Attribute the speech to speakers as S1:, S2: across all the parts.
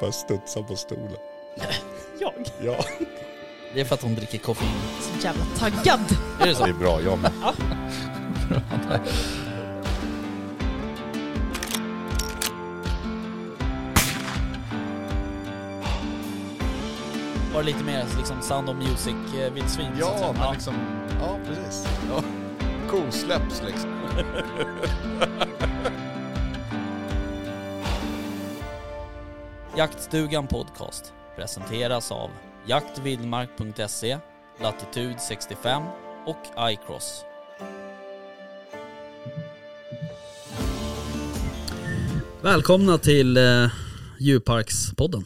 S1: Bara studsa på stolen.
S2: Jag?
S1: Ja.
S3: Det är för att hon dricker koffein.
S2: Så jävla taggad.
S3: Är det
S1: Det
S3: så?
S1: är bra, jag med.
S3: Var det lite mer liksom Sound of eh, Music-vildsvin?
S1: Ja, men liksom... Ja, precis. Ja. Kosläpps liksom.
S3: Jaktstugan Podcast presenteras av jaktvildmark.se, Latitude 65 och iCross. Välkomna till eh, Djurparkspodden.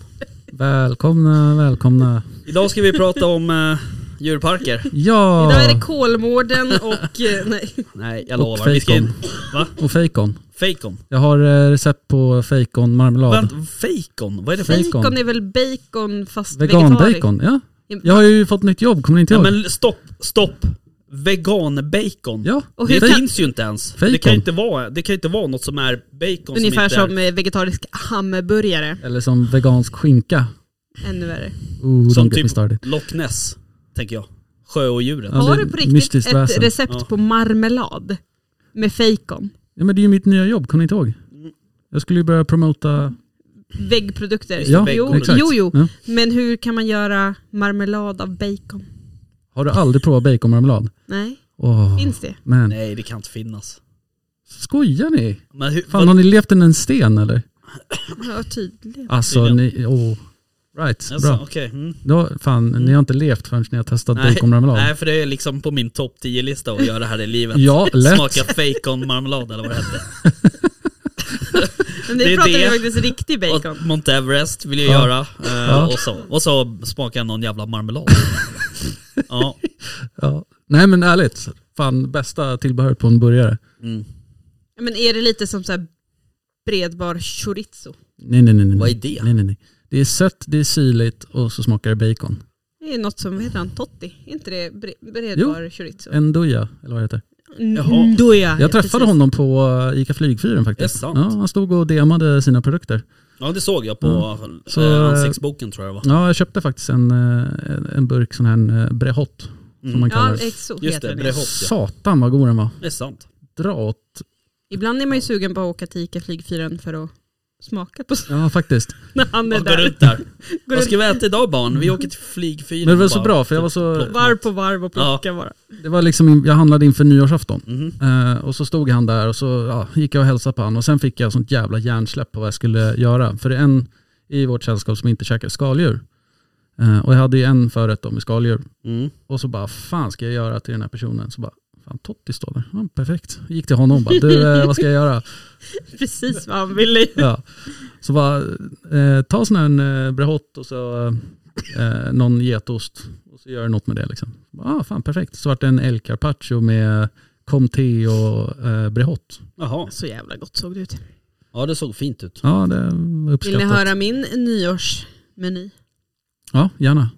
S4: Välkomna, välkomna.
S3: Idag ska vi prata om eh, djurparker.
S4: Ja!
S5: Idag är det Kolmården och... eh, nej.
S3: Nej, jag
S4: Och
S3: lovar. Vi ska in... Va?
S4: Och fejkon.
S3: Fejkon.
S4: Jag har eh, recept på fejkonmarmelad.
S3: Vänta, fejkon? Vad är det för...
S4: Fejkon.
S5: Bacon är väl bacon fast vegetariskt?
S4: Veganbacon, ja. Jag har ju fått nytt jobb, kommer ni inte
S3: Ja,
S4: ihåg?
S3: men stopp, stopp. Vegan-bacon.
S4: Ja,
S5: Och
S3: Det
S5: hur kan,
S3: finns ju inte ens.
S4: Fejkon.
S3: Det kan ju inte, vara, det kan ju inte vara något som är bacon
S5: ungefär
S3: som inte
S5: som eh, vegetarisk hamburgare.
S4: Eller som vegansk skinka.
S5: Ännu värre.
S4: Ooh,
S3: Som
S4: don't get
S3: typ-
S4: me started.
S3: är Loch Ness, tänker jag. Sjöodjuret.
S4: Ja,
S5: Har
S4: det är
S5: du på riktigt
S4: mystiskt
S5: ett
S4: väsen.
S5: recept
S3: Ja.
S5: på marmelad? Med fejkon?
S4: Ja, men det är ju mitt nya jobb, kommer ni inte ihåg? Jag skulle ju börja promota...
S5: Väggprodukter?
S4: Ja,
S5: jo,
S4: exakt.
S5: jo, jo.
S4: Ja.
S5: Men hur kan man göra marmelad av bacon?
S4: Har du aldrig provat baconmarmelad?
S5: Nej,
S4: Åh,
S5: finns det?
S4: man.
S3: Nej, det kan inte finnas.
S4: Skojar ni?
S3: Men hur,
S4: Fan, har
S3: vad,
S4: ni levt under en sten eller?
S5: Ja, tydligen.
S4: Alltså, ni... Åh. Right,
S3: alltså,
S4: bra.
S3: okej, mm.
S4: Då, fan, ni har inte levt förrän ni har testat
S3: Nej,
S4: baconmarmelad.
S3: Nej, för det är liksom på min topp 10-lista att göra det här i livet.
S4: Ja, lätt.
S3: Smaka fejkonmarmelad eller vad det hette.
S5: Men nu
S3: det är
S5: pratar vi
S3: det.
S5: faktiskt riktig bacon.
S3: Och Mount Everest vill jag
S4: Ja.
S3: göra. Eh,
S4: Ja.
S3: Och, så, och så smaka någon jävla marmelad. ja.
S4: Ja. Nej men ärligt, fan bästa tillbehör på en burgare.
S3: Mm.
S5: Men är det lite som så här bredbar chorizo?
S4: Nej nej nej. nej.
S3: Vad är det?
S4: Nej nej nej. Det är sött, det är syrligt och så smakar det bacon.
S5: Det är något som, vad heter han, Totti? Är inte det bre- bredbar chorizo? Mm,
S4: En doja, eller vad det heter.
S3: Jaha.
S5: Då ja,
S4: Jag träffade honom på eh, ICA Flygfyren faktiskt.
S3: Är det sant?
S4: Ja, han stod och demade sina produkter.
S3: ja, det såg jag på
S4: Så,
S3: eh,
S4: eh,
S3: ansiktsboken tror jag det var.
S4: Ja, jag köpte faktiskt en, eh, en- en burk sån här eh, brehott.
S3: Mm.
S4: Som man kallar
S5: Ja,
S4: det.
S5: exo
S3: Just
S5: heter
S3: det,
S5: det.
S3: brehott. ja.
S4: Satan vad god den var.
S3: Det är sant.
S4: Dra åt.
S5: Ibland är man ju sugen på att åka till ICA Flygfyren för att smaka på
S4: Ja faktiskt.
S5: när han är
S3: Och går
S5: där.
S3: runt där.
S5: Går
S3: Vad
S5: runt
S3: ska vi äta idag barn? Vi åker till flygfyren.
S4: Men det var
S3: och
S4: så
S3: bara- typ
S4: bra, för jag var så-
S5: varv på varv och plocka bara.
S4: Det var liksom, in- jag handlade inför nyårsafton.
S3: Mhm.
S4: Eh, och så stod han där och så ja, gick jag och hälsade på honom. Och sen fick jag sånt jävla hjärnsläpp på vad jag skulle göra. För det är en i vårt sällskap som inte käkar skaldjur. Eh, och jag hade ju en förrätt då med skaldjur.
S3: Mm.
S4: Och så bara, fan ska jag göra till den här personen? Så bara, fan Totti står där. Ja, perfekt. Gick till honom och bara, du eh, vad ska jag göra?
S5: Precis vad han ville.
S4: Ja. Så bara, eh, ta sån här en eh, brehott och så eh, någon getost och så gör du något med det liksom. Ah, fan perfekt. Så vart det en el carpaccio med comté och eh, brehott.
S3: Jaha.
S5: Så jävla gott såg det ut.
S3: Ja det såg fint ut.
S4: Ja, det var
S5: Vill ni
S4: uppskattat.
S5: höra min nyårsmeny?
S4: Ja, gärna.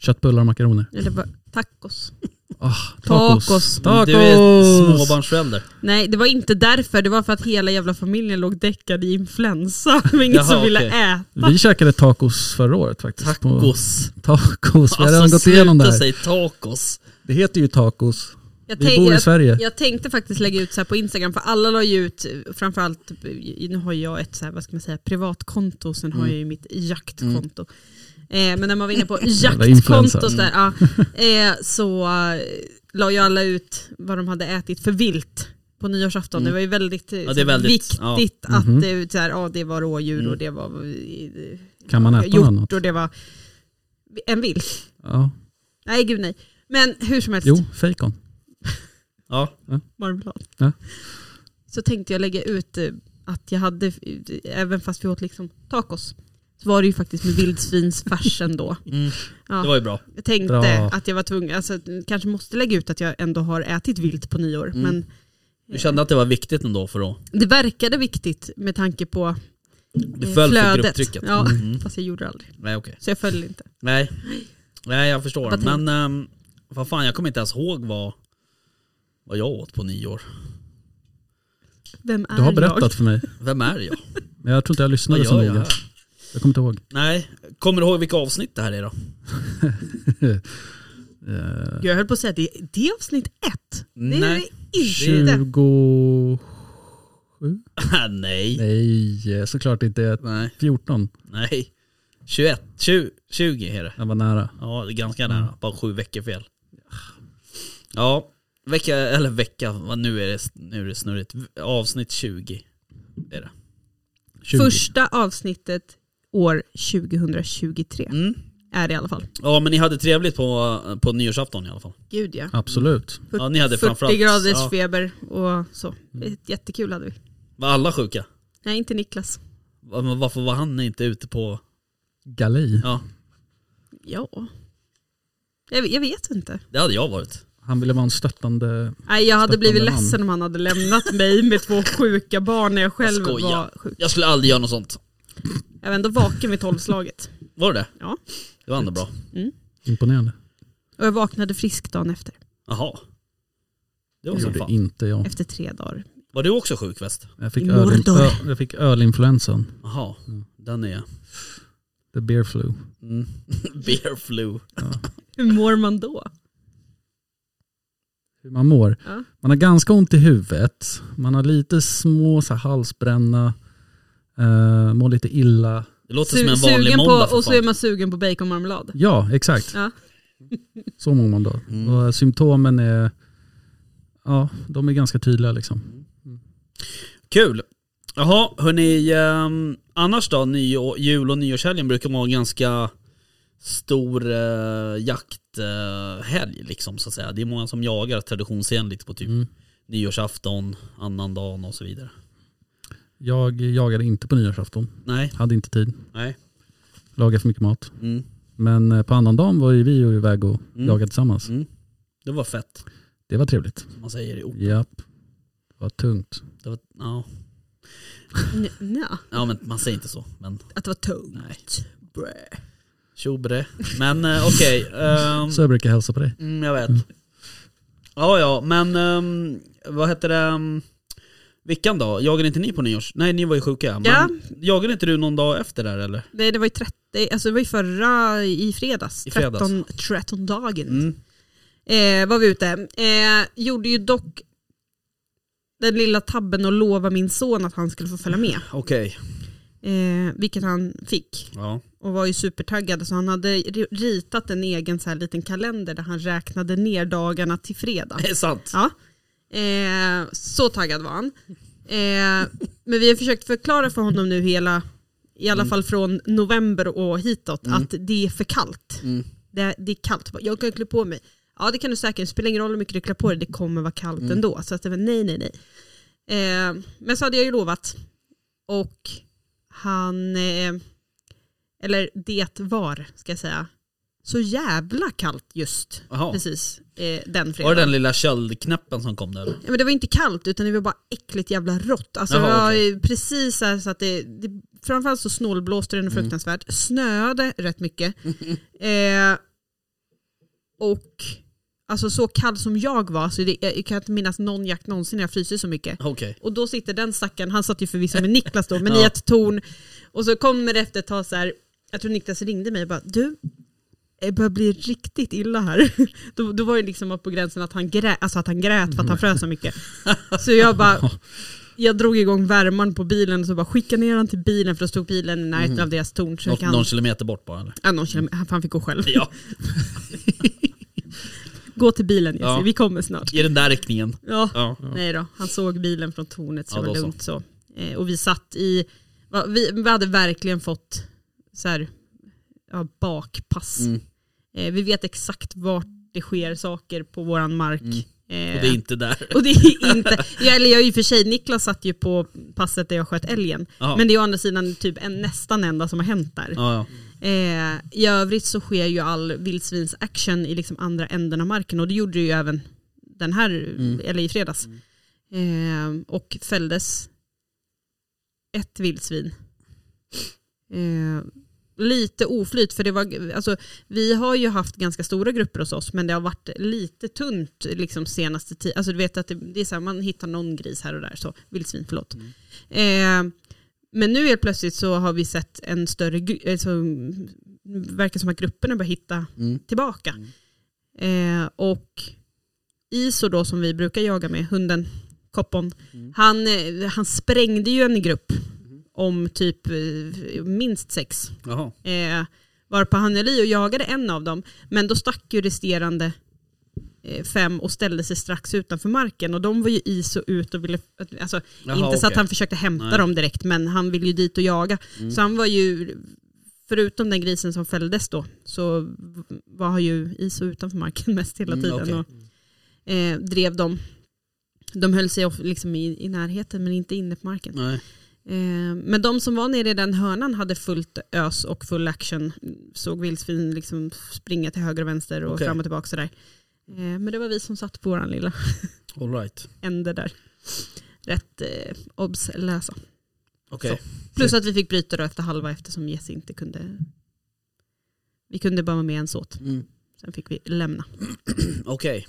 S4: Köttbullar och makaroner.
S5: Eller vad- tacos?
S4: Ah,
S5: Tacos.
S4: tacos. Tacos.
S3: Du är småbarnsförälder.
S5: Nej, det var inte därför. Det var för att hela jävla familjen låg däckad i influensa. Det var ingen
S3: Jaha,
S5: som ville
S3: okej.
S5: äta.
S4: Vi käkade tacos förra året faktiskt. På
S3: Tacos. Alltså,
S4: tacos. Vi Mm. har redan gått igenom det här.
S3: säg tacos.
S4: Det heter ju tacos.
S5: Jag
S4: Vi
S5: tänk-
S4: bor i
S5: jag,
S4: Sverige.
S5: Jag tänkte faktiskt lägga ut så här på Instagram, för alla la ju ut, eh, framförallt, eh, nu har jag ett så här, vad ska man säga, privatkonto, sen har jag ju mitt jaktkonto. Eh, men när man var inne på
S4: influencer.
S5: jaktkontot där, ja, eh, så eh, la ju alla ut vad de hade ätit för vilt på nyårsafton. Det var ju väldigt, eh,
S3: Ja, det är väldigt,
S5: viktigt
S3: ja.
S5: att
S4: Mhm.
S5: det, är så här, ja, det var rådjur och det var
S4: Kan man äta något annat?
S5: gjort och det var en vilt.
S4: Ja.
S5: Nej gud nej. Men hur som helst.
S4: Jo, fejkon.
S3: Ja.
S5: marmelad.
S4: Ja.
S5: Så tänkte jag lägga ut eh, att jag hade, eh, även fast vi åt liksom tacos, så var det ju faktiskt med vildsvinsfärs ändå.
S3: Mm.
S5: Ja.
S3: Det var ju bra.
S5: Jag tänkte
S4: Bra.
S5: att jag var tvungen, alltså kanske måste lägga ut att jag ändå har ätit vilt på nyår.
S3: Mm.
S5: Men
S3: Du kände att det var viktigt ändå för då?
S5: det verkade viktigt med tanke på
S3: Du
S4: Mm.
S5: eh,
S3: föll för
S5: flödet.
S3: grupptrycket?
S5: Ja,
S3: Mm.
S5: fast jag gjorde det aldrig.
S3: Nej okej.
S5: Så jag föll inte.
S3: Nej. Nej jag förstår.
S5: Vad
S3: Men ehm, vad fan jag kommer inte ens ihåg vad, vad jag åt på nyår.
S5: Vem är
S4: Du har
S5: jag?
S4: berättat för mig.
S3: Vem är jag?
S4: Men jag tror inte jag lyssnade så
S3: gör jag
S4: noga.
S3: här?
S4: Jag kommer inte ihåg.
S3: Nej, kommer du ihåg vilka avsnitt det här är då?
S4: Eh,
S5: Jag höll på att säga att det, det är avsnitt ett. Det
S3: Nej.
S5: är det
S4: Eh,
S5: inte.
S4: 20...
S3: Nej.
S4: Nej, eh, såklart inte.
S3: Nej.
S4: 14.
S3: Nej. 21. 20, 20 är det.
S4: Jag var nära.
S3: Ja, det är ganska nära. Bara sju veckor fel. Ja, vecka, eller vecka, vad nu är det, nu är det snurrigt. Avsnitt 20 är det.
S4: 20.
S5: Första avsnittet år 2023
S3: Mm.
S5: är det i alla fall.
S3: Ja, men ni hade trevligt på, på nyårsafton i alla fall.
S5: Gud ja.
S4: Absolut.
S3: Ja, ni hade
S5: 40
S3: framförallt-
S5: graders
S3: ja. Mm.
S5: feber och så. Jättekul hade vi.
S3: Var alla sjuka?
S5: Nej, inte Niklas.
S3: Va- men Varför var han inte ute på...
S4: Galej.
S3: Ja,
S5: Ja. Jag, jag vet inte.
S3: det hade jag varit.
S4: Han ville vara en stöttande...
S5: Nej, jag hade blivit
S4: Stöttande man.
S5: ledsen om han hade lämnat mig med två sjuka barn när jag själv
S3: Jag skojar.
S5: var sjuk.
S3: Jag skulle aldrig göra något sånt.
S5: Jag var ändå vaken vid tolvslaget.
S3: Var det det?
S5: Ja.
S3: Det var ändå bra.
S4: Imponerande.
S5: Och jag vaknade frisk dagen efter.
S3: Jaha. Det var
S4: Det
S3: som
S4: gjorde
S3: fan.
S4: inte jag.
S5: Efter tre dagar.
S3: Var du också sjuk väst?
S4: Jag fick,
S5: I
S4: öl,
S5: Mordor.
S4: ö, jag fick ölinfluensan.
S3: Jaha, mm, den är jag.
S4: The beer flu.
S3: Mm. Beer flu.
S5: Hur mår man då?
S4: Hur man mår.
S5: Ja.
S4: Man har ganska ont i huvudet. Man har lite små så här, halsbränna. Eh, mår lite illa.
S3: Det låter
S5: Su-
S3: som en vanlig
S5: sugen
S3: måndag
S5: på,
S3: för
S5: och så är
S3: fan.
S5: man sugen på baconmarmelad.
S4: Ja, exakt.
S5: Ja.
S4: Så mår man då.
S3: Mm.
S4: Och symptomen är... Ja, de är ganska tydliga liksom.
S3: Kul. Jaha, hörni. ehm, annars då? Nyår, jul och nyårshelgen brukar vara en ganska stor eh, jakthelg liksom så att säga. Det är många som jagar traditionsenligt på typ
S4: Mm.
S3: nyårsafton, annandagen och så vidare.
S4: Jag jagade inte på nyårsafton.
S3: Nej,
S4: Hade inte tid.
S3: nej.
S4: Lagade för mycket mat.
S3: Mm,
S4: Men eh, på annandagen var ju vi ju iväg och
S3: Mm.
S4: jagade tillsammans.
S3: mm. Det var fett,
S4: Det var trevligt.
S3: som man säger i ord.
S4: Japp. Det var tungt.
S3: Det var, ja.
S5: N- nja,
S3: ja, men man säger inte så. Men
S5: att det var tungt.
S3: nej.
S5: Brä.
S3: Tjobre. Men eh, okej. ehm,
S4: Så jag brukar hälsa på dig.
S3: Mm, jag vet. Ja, ja, men ehm, vad heter det? ehm, Vickan då? Jagade inte ni på nyårs? Nej, ni var ju sjuka. Men
S5: Ja.
S3: Jagade inte du någon dag efter där eller?
S5: Nej, det var ju 30, alltså det var ju förra, i fredags,
S3: I fredags.
S5: 13, 13 dagen
S3: Mm.
S5: eh, var vi ute. Eh, gjorde ju dock den lilla tabben att lova min son att han skulle få följa med.
S3: Okej.
S5: Eh, vilket han fick
S3: Ja.
S5: och var ju supertaggad. Så han hade ri- ritat en egen så här liten kalender där han räknade ner dagarna till fredag.
S3: Det är sant.
S5: Ja. Eh, så taggad var han. Eh, men vi har försökt förklara för honom nu hela, i alla fall från november och hitåt, att det är för kallt.
S3: Mm.
S5: Det, det är kallt. Jag kan klä på mig. Ja det kan du säkert, det spelar ingen roll hur mycket du klär på dig, det kommer vara kallt ändå. Så att det var nej, nej, nej. Eh, men så hade jag ju lovat. Och han, eh, eller det var, ska jag säga, så jävla kallt just
S3: Jaha.
S5: precis eh, den fredagen.
S3: Var det den lilla köldknäppen som kom där? eller?
S5: Ja, men det var inte kallt utan det var bara äckligt jävla rått. Alltså,
S3: Jaha,
S5: det var
S3: okej.
S5: eh, precis så, här, så att det, det, framförallt så snålblåste det något
S3: Mm.
S5: fruktansvärt. Snöade rätt mycket. eh, och alltså, så kall som jag var, så det, jag, jag kan inte minnas någon jakt någonsin när jag frysit så mycket.
S3: Okej.
S5: Och då sitter den stackaren, han satt ju förvisso med Niklas då, men
S3: Ja.
S5: i ett torn. Och så kommer det efter ett tag så här, jag tror Niklas ringde mig och bara, du, jag börjar bli riktigt illa här. Då, då var det liksom upp på gränsen att han, grä, alltså att han grät för att han frös så mycket. Så jag bara, jag drog igång värmaren på bilen och så bara skickade ner han till bilen för då stod bilen i närheten av deras torn. Så
S3: Mm. Nå-
S5: fick han,
S3: Någon kilometer bort bara eller?
S5: ja, någon kilometer, han fan fick gå själv.
S3: Ja,
S5: Gå till bilen Jesse,
S3: Ja.
S5: vi kommer snart.
S3: i den där riktningen.
S5: Ja.
S3: Ja.
S5: Nej då, han såg bilen från tornet så
S3: Mm. Ja,
S5: det var
S3: då så.
S5: lugnt så. Eh, och vi satt i, va, vi, vi hade verkligen fått så här, ja, bakpass.
S3: Mm.
S5: Eh, vi vet exakt vart det sker saker på våran mark. Eh,
S3: Mm. Och det är inte där.
S5: och det är inte, ja, eller jag är ju för sig, Niklas satt ju på passet där jag sköt älgen.
S3: Ja.
S5: Men det är å andra sidan typ en, nästan enda som har hänt där.
S3: Ja, ja.
S5: Eh, I övrigt så sker ju all vildsvinsaction i liksom andra änden av marken och det gjorde det ju även den här, eller i fredags. Eh, och fälldes ett vildsvin. Eh, lite oflyt för det var, alltså, vi har ju haft ganska stora grupper hos oss men det har varit lite tunt liksom senaste tiden. Alltså du vet att det, det är så här, man hittar någon gris här och där, så vildsvin, förlåt. Eh, Men nu helt plötsligt så har vi sett en större gru- alltså, verkar som att grupperna börjar hitta
S3: Mm.
S5: tillbaka.
S3: Mm.
S5: Eh, och Iso då som vi brukar jaga med, hunden, koppon,
S3: Mm.
S5: han, eh, han sprängde ju en grupp om typ eh, minst sex.
S3: Jaha.
S5: Eh, varpå han höll i och jagade en av dem. Men då stack ju resterande eh, fem och ställde sig strax utanför marken. Och de var ju is och ut och ville, alltså
S3: Jaha,
S5: inte så att
S3: okej.
S5: han försökte hämta
S3: Nej.
S5: dem direkt men han ville ju dit och jaga.
S3: Mm.
S5: Så han var ju, förutom den grisen som fälldes då, så var han ju is och utanför marken mest hela
S3: Mm,
S5: tiden.
S3: okej.
S5: och, eh, drev dem. De höll sig of- liksom i, i närheten men inte inne på marken.
S3: Nej.
S5: Eh, Men de som var nere i den hörnan hade fullt ös och full action. Såg vildsvin liksom springa till höger och vänster och
S3: Okej.
S5: fram och tillbaka. Sådär. Eh, Men det var vi som satt på vår lilla
S3: All right.
S5: ände där. Rätt eh, obslösa.
S3: Okej.
S5: Plus att vi fick bryta då efter halva eftersom Jesse inte kunde. Vi kunde bara vara med ens åt.
S3: Mm.
S5: Sen fick vi lämna.
S3: Okej.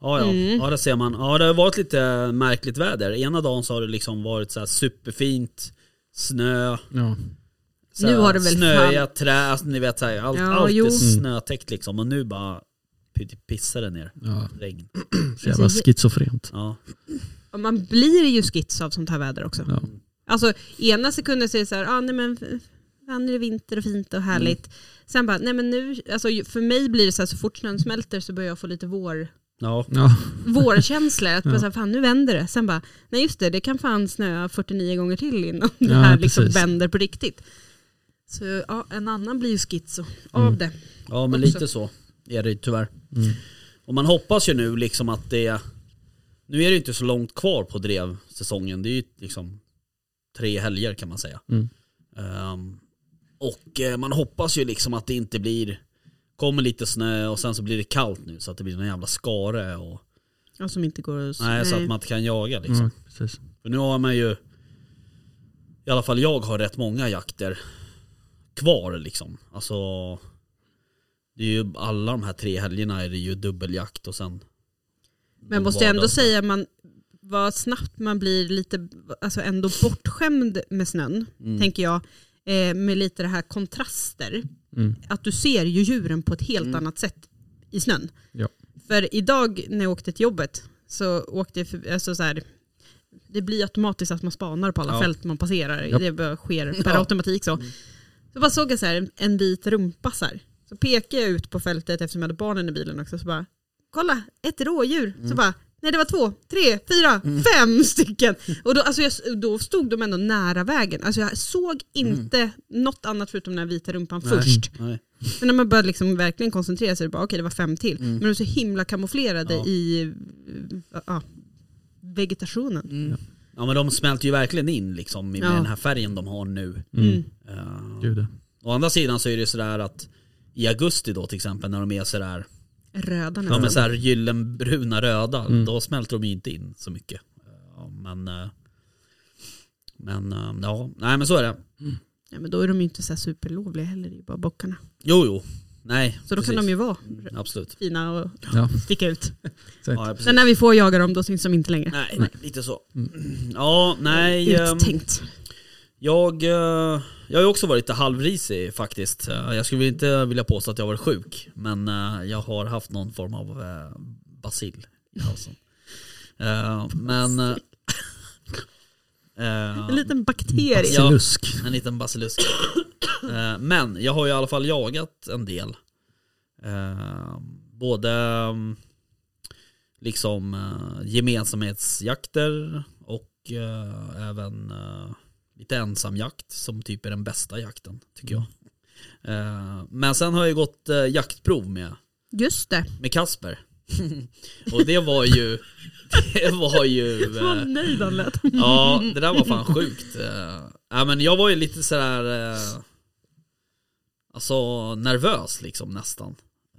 S3: Ja, ja.
S5: Mm.
S3: ja, det ser man. Ja, det har varit lite märkligt väder. Ena dagen så har det liksom varit så här superfint, snö,
S4: Ja.
S3: så
S5: Nu
S3: här
S5: har det väl
S3: snöiga träd, alltså, ni vet så här, allt,
S5: Ja,
S3: allt
S5: jo.
S3: är snötäckt liksom. Och nu bara pytt- pissar det ner.
S4: ja.
S3: Regn.
S4: Så jävla
S5: Alltså,
S4: schizofrent.
S3: Ja.
S5: Och man blir ju skits av sånt här väder också.
S4: Ja.
S5: Alltså ena sekunden säger så här, ah, nej men fan är det vinter och fint och härligt.
S4: Mm.
S5: Sen bara, nej men nu, alltså ju- för mig blir det så här så fort snön smälter så börjar jag få lite vår,
S3: Ja.
S4: Ja.
S5: vårkänslor. Att bara
S4: Ja.
S5: så här, fan nu vänder det. Sen bara, nej just det, det kan fan snöa 49 gånger till innan det
S4: Ja,
S5: här liksom
S4: precis.
S5: vänder på riktigt. Så ja, en annan blir ju schizo av
S4: Mm.
S5: det.
S3: ja, men
S5: Också.
S3: lite så är det ju tyvärr.
S4: Mm.
S3: Och man hoppas ju nu liksom att det... Nu är det ju inte så långt kvar på drevsäsongen. Det är ju liksom tre helger kan man säga.
S4: Mm.
S3: Ehm, och eh, man hoppas ju liksom att det inte blir... Kommer lite snö och sen så blir det kallt nu så att det blir någon jävla skare och...
S5: Ja, som inte går att...
S3: Nej, så att man inte kan jaga liksom.
S4: Ja, precis.
S3: För nu har man ju... I alla fall jag har rätt många jakter kvar liksom. Alltså... Det är ju alla de här tre helgerna är det ju dubbeljakt och sen...
S5: Men måste jag ändå
S3: vardags-
S5: säga man, vad snabbt man blir lite, alltså ändå bortskämd med snön,
S3: Mm.
S5: tänker jag. Eh, med lite det här kontraster.
S4: Mm.
S5: Att du ser ju djuren på ett helt annat sätt i snön.
S4: Ja.
S5: För idag när jag åkte till jobbet så åkte jag förbi, alltså så här, det blir automatiskt att man spanar på alla
S3: Ja.
S5: fält man passerar.
S4: Japp.
S5: Det bara sker per
S3: Ja.
S5: automatik så. Så bara såg jag så här, en- en vit rumpa så här. Så pekade jag ut på fältet eftersom jag hade barnen i bilen också. Så bara, kolla, ett rådjur.
S3: Mm.
S5: Så bara, nej det var två, tre, fyra, fem stycken. Och då, alltså jag, då stod de ändå nära vägen. Alltså jag såg inte något annat förutom den här vita rumpan
S3: Mm. Nej.
S5: först.
S3: Nej.
S5: Men när man började liksom verkligen koncentrera sig, bara, okej det var fem till. Men de är så himla kamouflerade
S3: Mm. Ja.
S5: i eh, ja, vegetationen.
S3: Ja men de smälter ju verkligen in liksom med
S5: Ja.
S3: den här färgen de har nu.
S5: Mm.
S3: Eh,
S4: Gud.
S3: å andra sidan så är det ju sådär att i augusti då till exempel när de är sådär,
S5: Röda
S3: ja
S5: nästan.
S3: men såhär gyllenbruna röda,
S4: Mm.
S3: då smälter de ju inte in så mycket. Eh, men eh, men eh, ja, nej men så är det.
S5: Ja, men då är de ju inte så här superlovliga heller, det är ju bara bockarna.
S3: Jo jo, nej.
S5: Så då kan de ju vara
S3: ju... Absolut.
S5: fina och
S4: Ja,
S5: sticka ut.
S3: Ja, ja, precis.
S5: Sen när Mm. vi får jaga dem, då syns de inte längre.
S3: Nej, nej, lite så.
S5: Mm.
S3: Ja, nej. ehm,
S5: Uttänkt.
S3: Jag, eh, jag har ju också varit lite halvrisig faktiskt. Eh, Jag skulle väl inte vilja påstå att jag har varit sjuk, men eh, jag har haft någon form av eh, bacill i halsen. Eh, Men... eh, eh,
S5: En liten bakterie.
S3: Ja.
S4: silusk.
S3: en liten basilusk. Eh, Men jag har ju i alla fall jagat en del. Eh, Både mm, liksom eh, gemensamhetsjakter och eh, även eh, lite ensamjakt som typ är den bästa jakten tycker jag. Eh, Men sen har jag ju gått eh, jaktprov med,
S5: Just det.
S3: med Kasper. och det var ju, det var ju... eh,
S5: Vad nöjd han lät.
S3: Ja, det där var fan sjukt. Eh, Ja, men jag var ju lite sådär, eh, alltså nervös liksom nästan.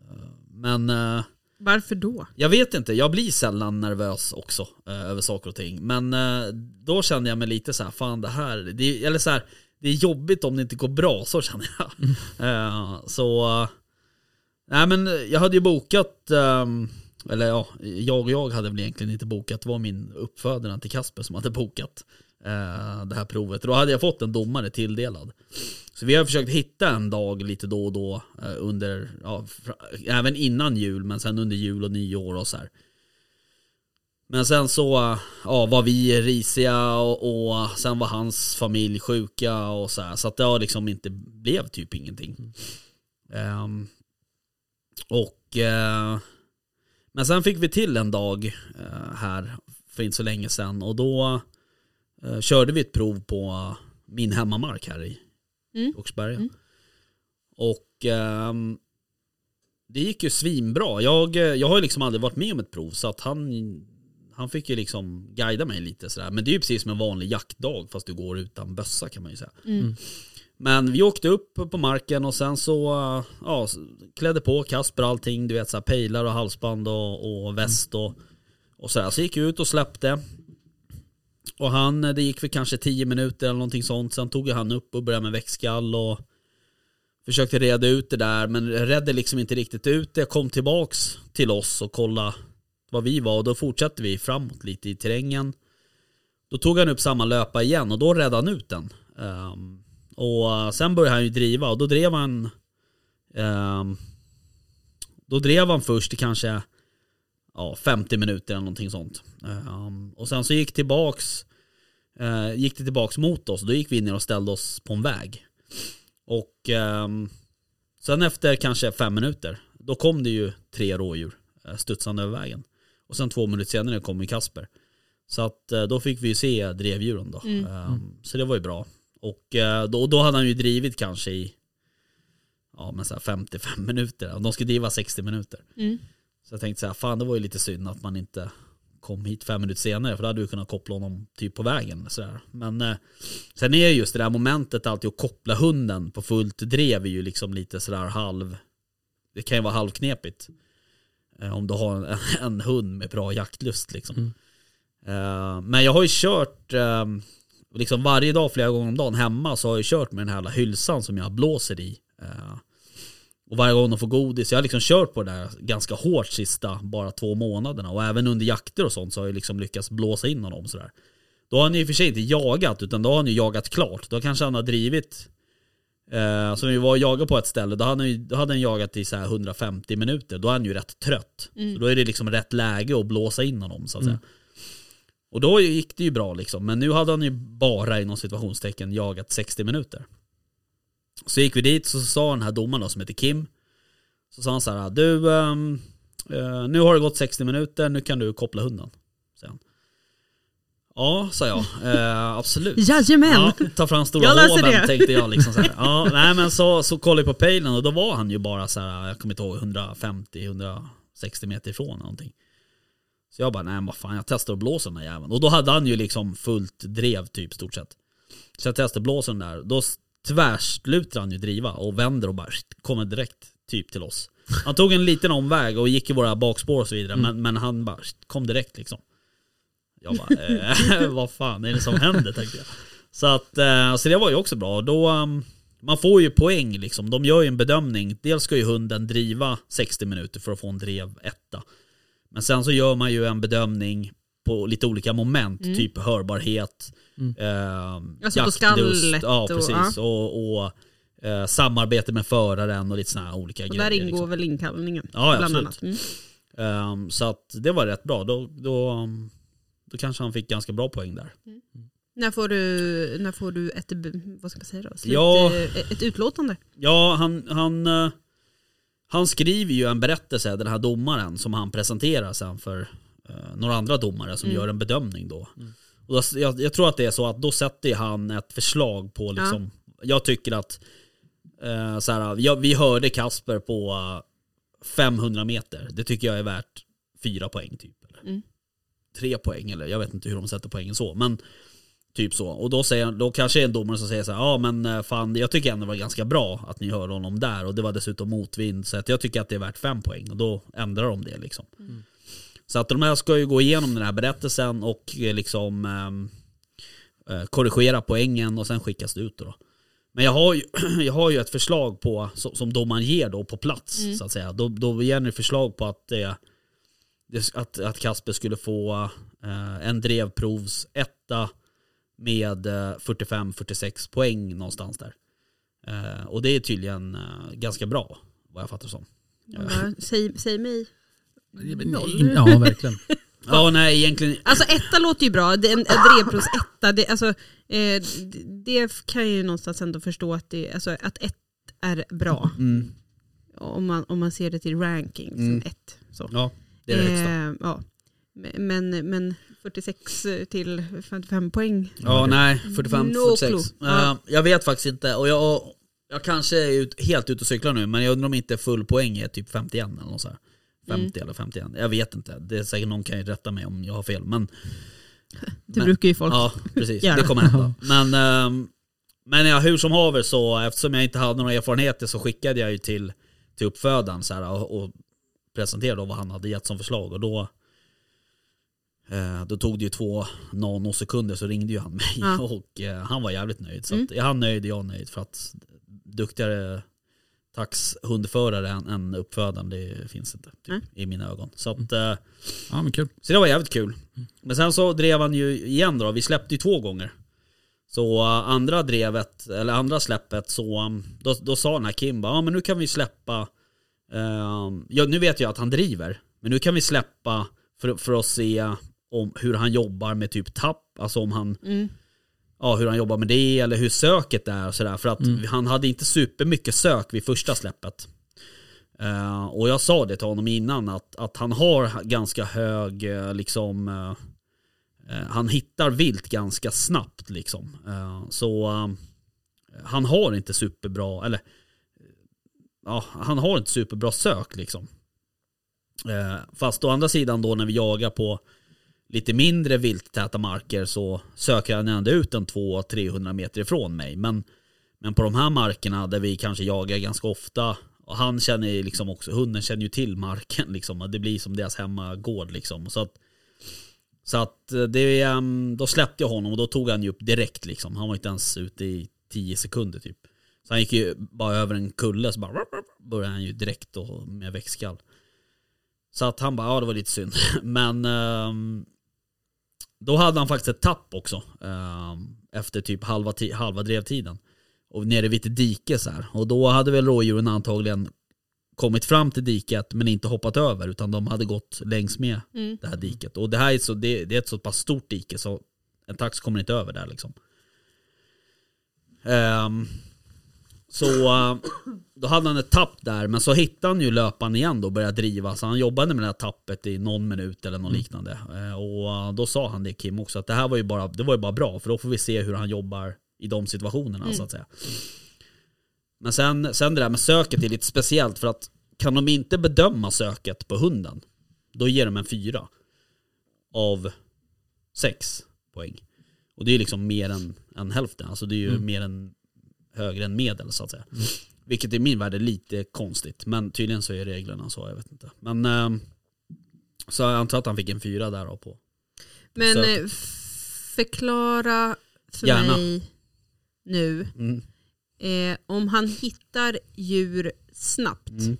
S3: Eh, Men eh,
S5: Varför då?
S3: jag vet inte, jag blir sällan nervös också eh, över saker och ting. Men eh, då kände jag mig lite så här, fan det här, det, eller så här, det är jobbigt om det inte går bra, så känner jag. Eh, så, eh, nej men jag hade ju bokat, ehm, eller ja, jag och jag hade väl egentligen inte bokat, det var min uppfödare till Kasper som hade bokat. eh, det här provet. Då hade jag fått en domare tilldelad. Så vi har försökt hitta en dag lite då och då eh, under, ja, fra- även innan jul men sen under jul och nyår och så här. Men sen så eh, ja, var vi risiga och, och sen var hans familj sjuka och så här. Så att det har liksom inte blev typ ingenting. Ehm, och eh, Men sen fick vi till en dag eh, här för inte så länge sedan och då eh, körde vi ett prov på min hemmamark här i
S5: Mm.
S3: Åkersberga.
S5: Mm.
S3: Och ehm, det gick ju svinbra. Jag, eh, jag har ju liksom aldrig varit med om ett prov så att han, han fick ju liksom guida mig lite sådär. Men det är ju precis som en vanlig jaktdag fast du går utan bössa kan man ju säga.
S5: Mm.
S3: Men vi åkte upp på marken och sen så eh, ja, s- klädde på Kasper och allting, du vet så här, pejlar och halsband och, och väst och, och sådär. Så gick vi ut och släppte. Och han, eh, det gick för kanske 10 minuter eller någonting sånt. Sen tog ju han upp och började med växtskall och försökte reda ut det där men redde liksom inte riktigt ut det. Kom tillbaks till oss och kolla vad vi var och då fortsatte vi framåt lite i terrängen. Då tog han upp samma löpa igen och då räddade han ut den. Ehm, och eh, sen började han ju driva och då drev han ehm, Då drev han först i kanske ja, 50 minuter eller någonting sånt. Ehm, och sen så gick tillbaks eh, Gick det tillbaks mot oss och då gick vi ner och ställde oss på en väg. Och ehm, sen efter kanske fem minuter då kom det ju tre rådjur eh, studsande över vägen. Och sen två minuter senare kom ju Kasper. Så att eh, då fick vi ju se drevdjuren då.
S5: Mm.
S3: Ehm, så det var ju bra. Och eh, då, då hade han ju drivit kanske i ja, men så här 55 minuter. De skulle driva 60 minuter.
S5: Mm.
S3: Så jag tänkte så här, fan det var ju lite synd att man inte kom hit fem minuter senare för då hade vi kunnat koppla honom typ på vägen. Så där. Men eh, sen är just det där momentet alltid att koppla hunden på fullt drev är ju liksom lite sådär halv, det kan ju vara halvknepigt. Eh, om du har en, en hund med bra jaktlust liksom.
S4: Mm.
S3: Eh, men jag har ju kört eh, liksom varje dag flera gånger om dagen hemma så har jag ju kört med den här jävla hylsan som jag blåser i. Eh, och varje gång de får godis, jag har liksom kört på det där ganska hårt sista bara två månaderna. Och även under jakter och sånt så har jag liksom lyckats blåsa in honom sådär. Då har han ju i och för sig inte jagat, utan då har han ju jagat klart. Då kanske han har drivit, eh, som vi var och jagade på ett ställe, då hade han, ju, då hade han jagat i så här 150 minuter. Då är han ju rätt trött. Så då är det liksom rätt läge att blåsa in honom så att säga. Och då gick det ju bra liksom. Men nu hade han ju bara inom situationstecken jagat 60 minuter. Så gick vi dit så sa den här domaren då, som heter Kim. Så sa han så här, du ehm, eh, nu har det gått 60 minuter, nu kan du koppla hunden. Säger han. Ja, sa jag. Eh, absolut.
S5: Jajamän!
S3: Ja, ta fram stora
S5: Jag löser
S3: hoven
S5: det.
S3: tänkte jag. Liksom så här. Ja, nej, men så, så kollade jag på pejlen och då var han ju bara så här, jag kommer inte ihåg, 150-160 meter ifrån eller någonting. Så jag bara, nej men vad fan jag testar att blåsa den här jäveln. Och då hade han ju liksom fullt drev typ stort sett. Så jag testade att blåsa den där, då s- tvärslutar han ju driva och vänder och bara skitt, kommer direkt typ till oss. Han tog en liten omväg och gick i våra bakspår och så vidare
S5: Mm.
S3: men, men han bara skitt, kom direkt liksom. Jag bara, eh, vad fan är det som händer tänkte jag. Så, att, eh, så det var ju också bra. Då, ehm, man får ju poäng liksom. De gör ju en bedömning. Dels ska ju hunden driva 60 minuter för att få en drev etta. Men sen så gör man ju en bedömning på lite olika moment. Typ hörbarhet, ehm,
S5: Mm. Alltså på
S3: jaktlust,
S5: skallet
S3: ja,
S5: och-
S3: precis. och, och, eh, samarbete med föraren och lite sådana här olika
S5: Och
S3: grejer.
S5: där ingår
S3: liksom.
S5: väl inkallningen?
S3: Ja, ja,
S5: bland
S3: absolut.
S5: annat. Mm.
S3: Ehm, så att det var rätt bra. Då, då, ehm, då kanske han fick ganska bra poäng där.
S5: När, får du, när får du ett, vad ska man säga då? Slut,
S3: Ja.
S5: eh, ett utlåtande?
S3: Ja, han, han, eh, han skriver ju en berättelse, den här domaren, som han presenterar sen för eh, några andra domare som gör en bedömning då. Och då jag, jag tror att det är så att då sätter ju han ett förslag på liksom, jag tycker att eh, så här, ja, vi hörde Kasper på eh, 500 meter, det tycker jag är värt fyra poäng typ. Eller.
S5: Mm.
S3: Tre poäng eller jag vet inte hur de sätter poängen så. Men Typ så. Och då, säger, då kanske det är en domare som säger så här, ja men eh, fan jag tycker ändå det var ganska bra att ni hörde honom där och det var dessutom motvind så att jag tycker att det är värt fem poäng och då ändrar de det liksom. Så att de här ska ju gå igenom den här berättelsen och eh, liksom ehm, eh, korrigera poängen och sen skickas det ut då. Men jag har ju, jag har ju ett förslag på, so- som domaren ger då på plats så att säga. Då, då ger ni förslag på att det det- att, att Kasper skulle få eh, en drevprovs etta med eh, 45-46 poäng någonstans där. Eh, och det är tydligen eh, ganska bra, vad jag fattar som. Eh,
S5: Man bara, Säg, säg mig. Noll.
S4: Ja, verkligen.
S3: Ja, nej egentligen,
S5: Alltså etta låter ju bra. Det är En Drepros etta, det, alltså, eh, det kan jag ju någonstans ändå förstå att, det, alltså, att ett är bra.
S3: mm,
S5: Om man, om man ser det till ranking, liksom
S3: Mm.
S5: ett. Så.
S3: ja det är det högsta.
S5: Eh, ja. Men, men 46 till 55 poäng.
S3: Ja, nej. 45,
S5: Mm. No
S3: 46.
S5: clue.
S3: Eh,
S5: Ja.
S3: jag vet faktiskt inte. Och jag, jag kanske är ut, helt ute och cyklar nu, men jag undrar om inte full poäng är typ 51 eller något så här. 50
S5: Mm.
S3: eller 51. Jag vet inte. Det är säkert någon kan ju rätta mig om jag har fel. Men,
S5: Det
S3: Men-
S5: brukar ju folk.
S3: ja, precis.
S5: Gärna.
S3: Det kommer hända. Men, ehm, men ja, hur som haver så, eftersom jag inte hade några erfarenheter så skickade jag ju till, till uppfödaren så här, och, och presenterade då vad han hade gett som förslag. Och då, eh, då tog det ju två nanosekunder så ringde ju han mig
S5: Ja.
S3: och eh, han var jävligt nöjd. Så
S5: Mm.
S3: att, är han nöjd är jag nöjd för att duktigare taxhundförare än, än uppfödaren det finns inte typ,
S5: Nej. Mm.
S3: i mina ögon. Så att, eh,
S4: Ja, men kul.
S3: så det var jävligt kul. Men sen så drev han ju igen då, vi släppte ju två gånger. Så eh, andra drevet, eller andra släppet så, um, då, då sa den här Kim bara, ja men nu kan vi släppa, ehm, ja nu vet jag att han driver, men nu kan vi släppa för, för att se uh, om hur han jobbar med typ tapp, alltså om han,
S5: Mm.
S3: ja hur han jobbar med det eller hur söket är och sådär. För att han hade inte supermycket sök vid första släppet. Eh, och jag sa det till honom innan att, att han har ganska hög, eh, liksom, eh, eh, han hittar vilt ganska snabbt liksom. Eh, så eh, han har inte superbra, eller eh, ja, han har inte superbra sök liksom. Eh, fast å andra sidan då när vi jagar på lite mindre vilttäta marker så söker han ändå ut en 200-300 meter ifrån mig. Men, men på de här markerna där vi kanske jagar ganska ofta och han känner ju liksom också, hunden känner ju till marken liksom och det blir som deras hemmagård liksom. Så att, så att eh, det, ehm, då släppte jag honom och då tog han ju upp direkt liksom. Han var inte ens ute i 10 sekunder typ. Så han gick ju bara över en kulle så bara började han ju direkt då med växtskall. Så att han bara, ja det var lite synd. Men ehm, då hade han faktiskt ett tapp också. ehm, efter typ halva, ti- halva drevtiden. Och nere vid ett dike så här. Och då hade väl rådjuren antagligen kommit fram till diket men inte hoppat över utan de hade gått längs med
S5: Mm.
S3: det här diket. Och det här är, så, det, det är ett så pass stort dike så en tax kommer inte över där liksom. Ehm, så eh, då hade han ett tapp där men så hittade han ju löpan igen då och började driva. Så han jobbade med det här tappet i någon minut eller något liknande. Eh, Och eh, då sa han det Kim också att det här var ju bara, det var ju bara bra för då får vi se hur han jobbar i de situationerna så att säga. Men sen, sen det där med söket är lite speciellt för att kan de inte bedöma söket på hunden då ger de en fyra av sex poäng. Och det är ju liksom mer än, än hälften, alltså det är ju mer än högre än medel så att säga. Vilket i min värld är lite konstigt, men tydligen så är reglerna så, jag vet inte. Men ehm, så jag antar att han fick en fyra där då på.
S5: Men
S3: Så-
S5: eh, förklara för
S3: Gärna.
S5: mig nu.
S3: Mm.
S5: Eh, om han hittar djur snabbt,
S3: Mm.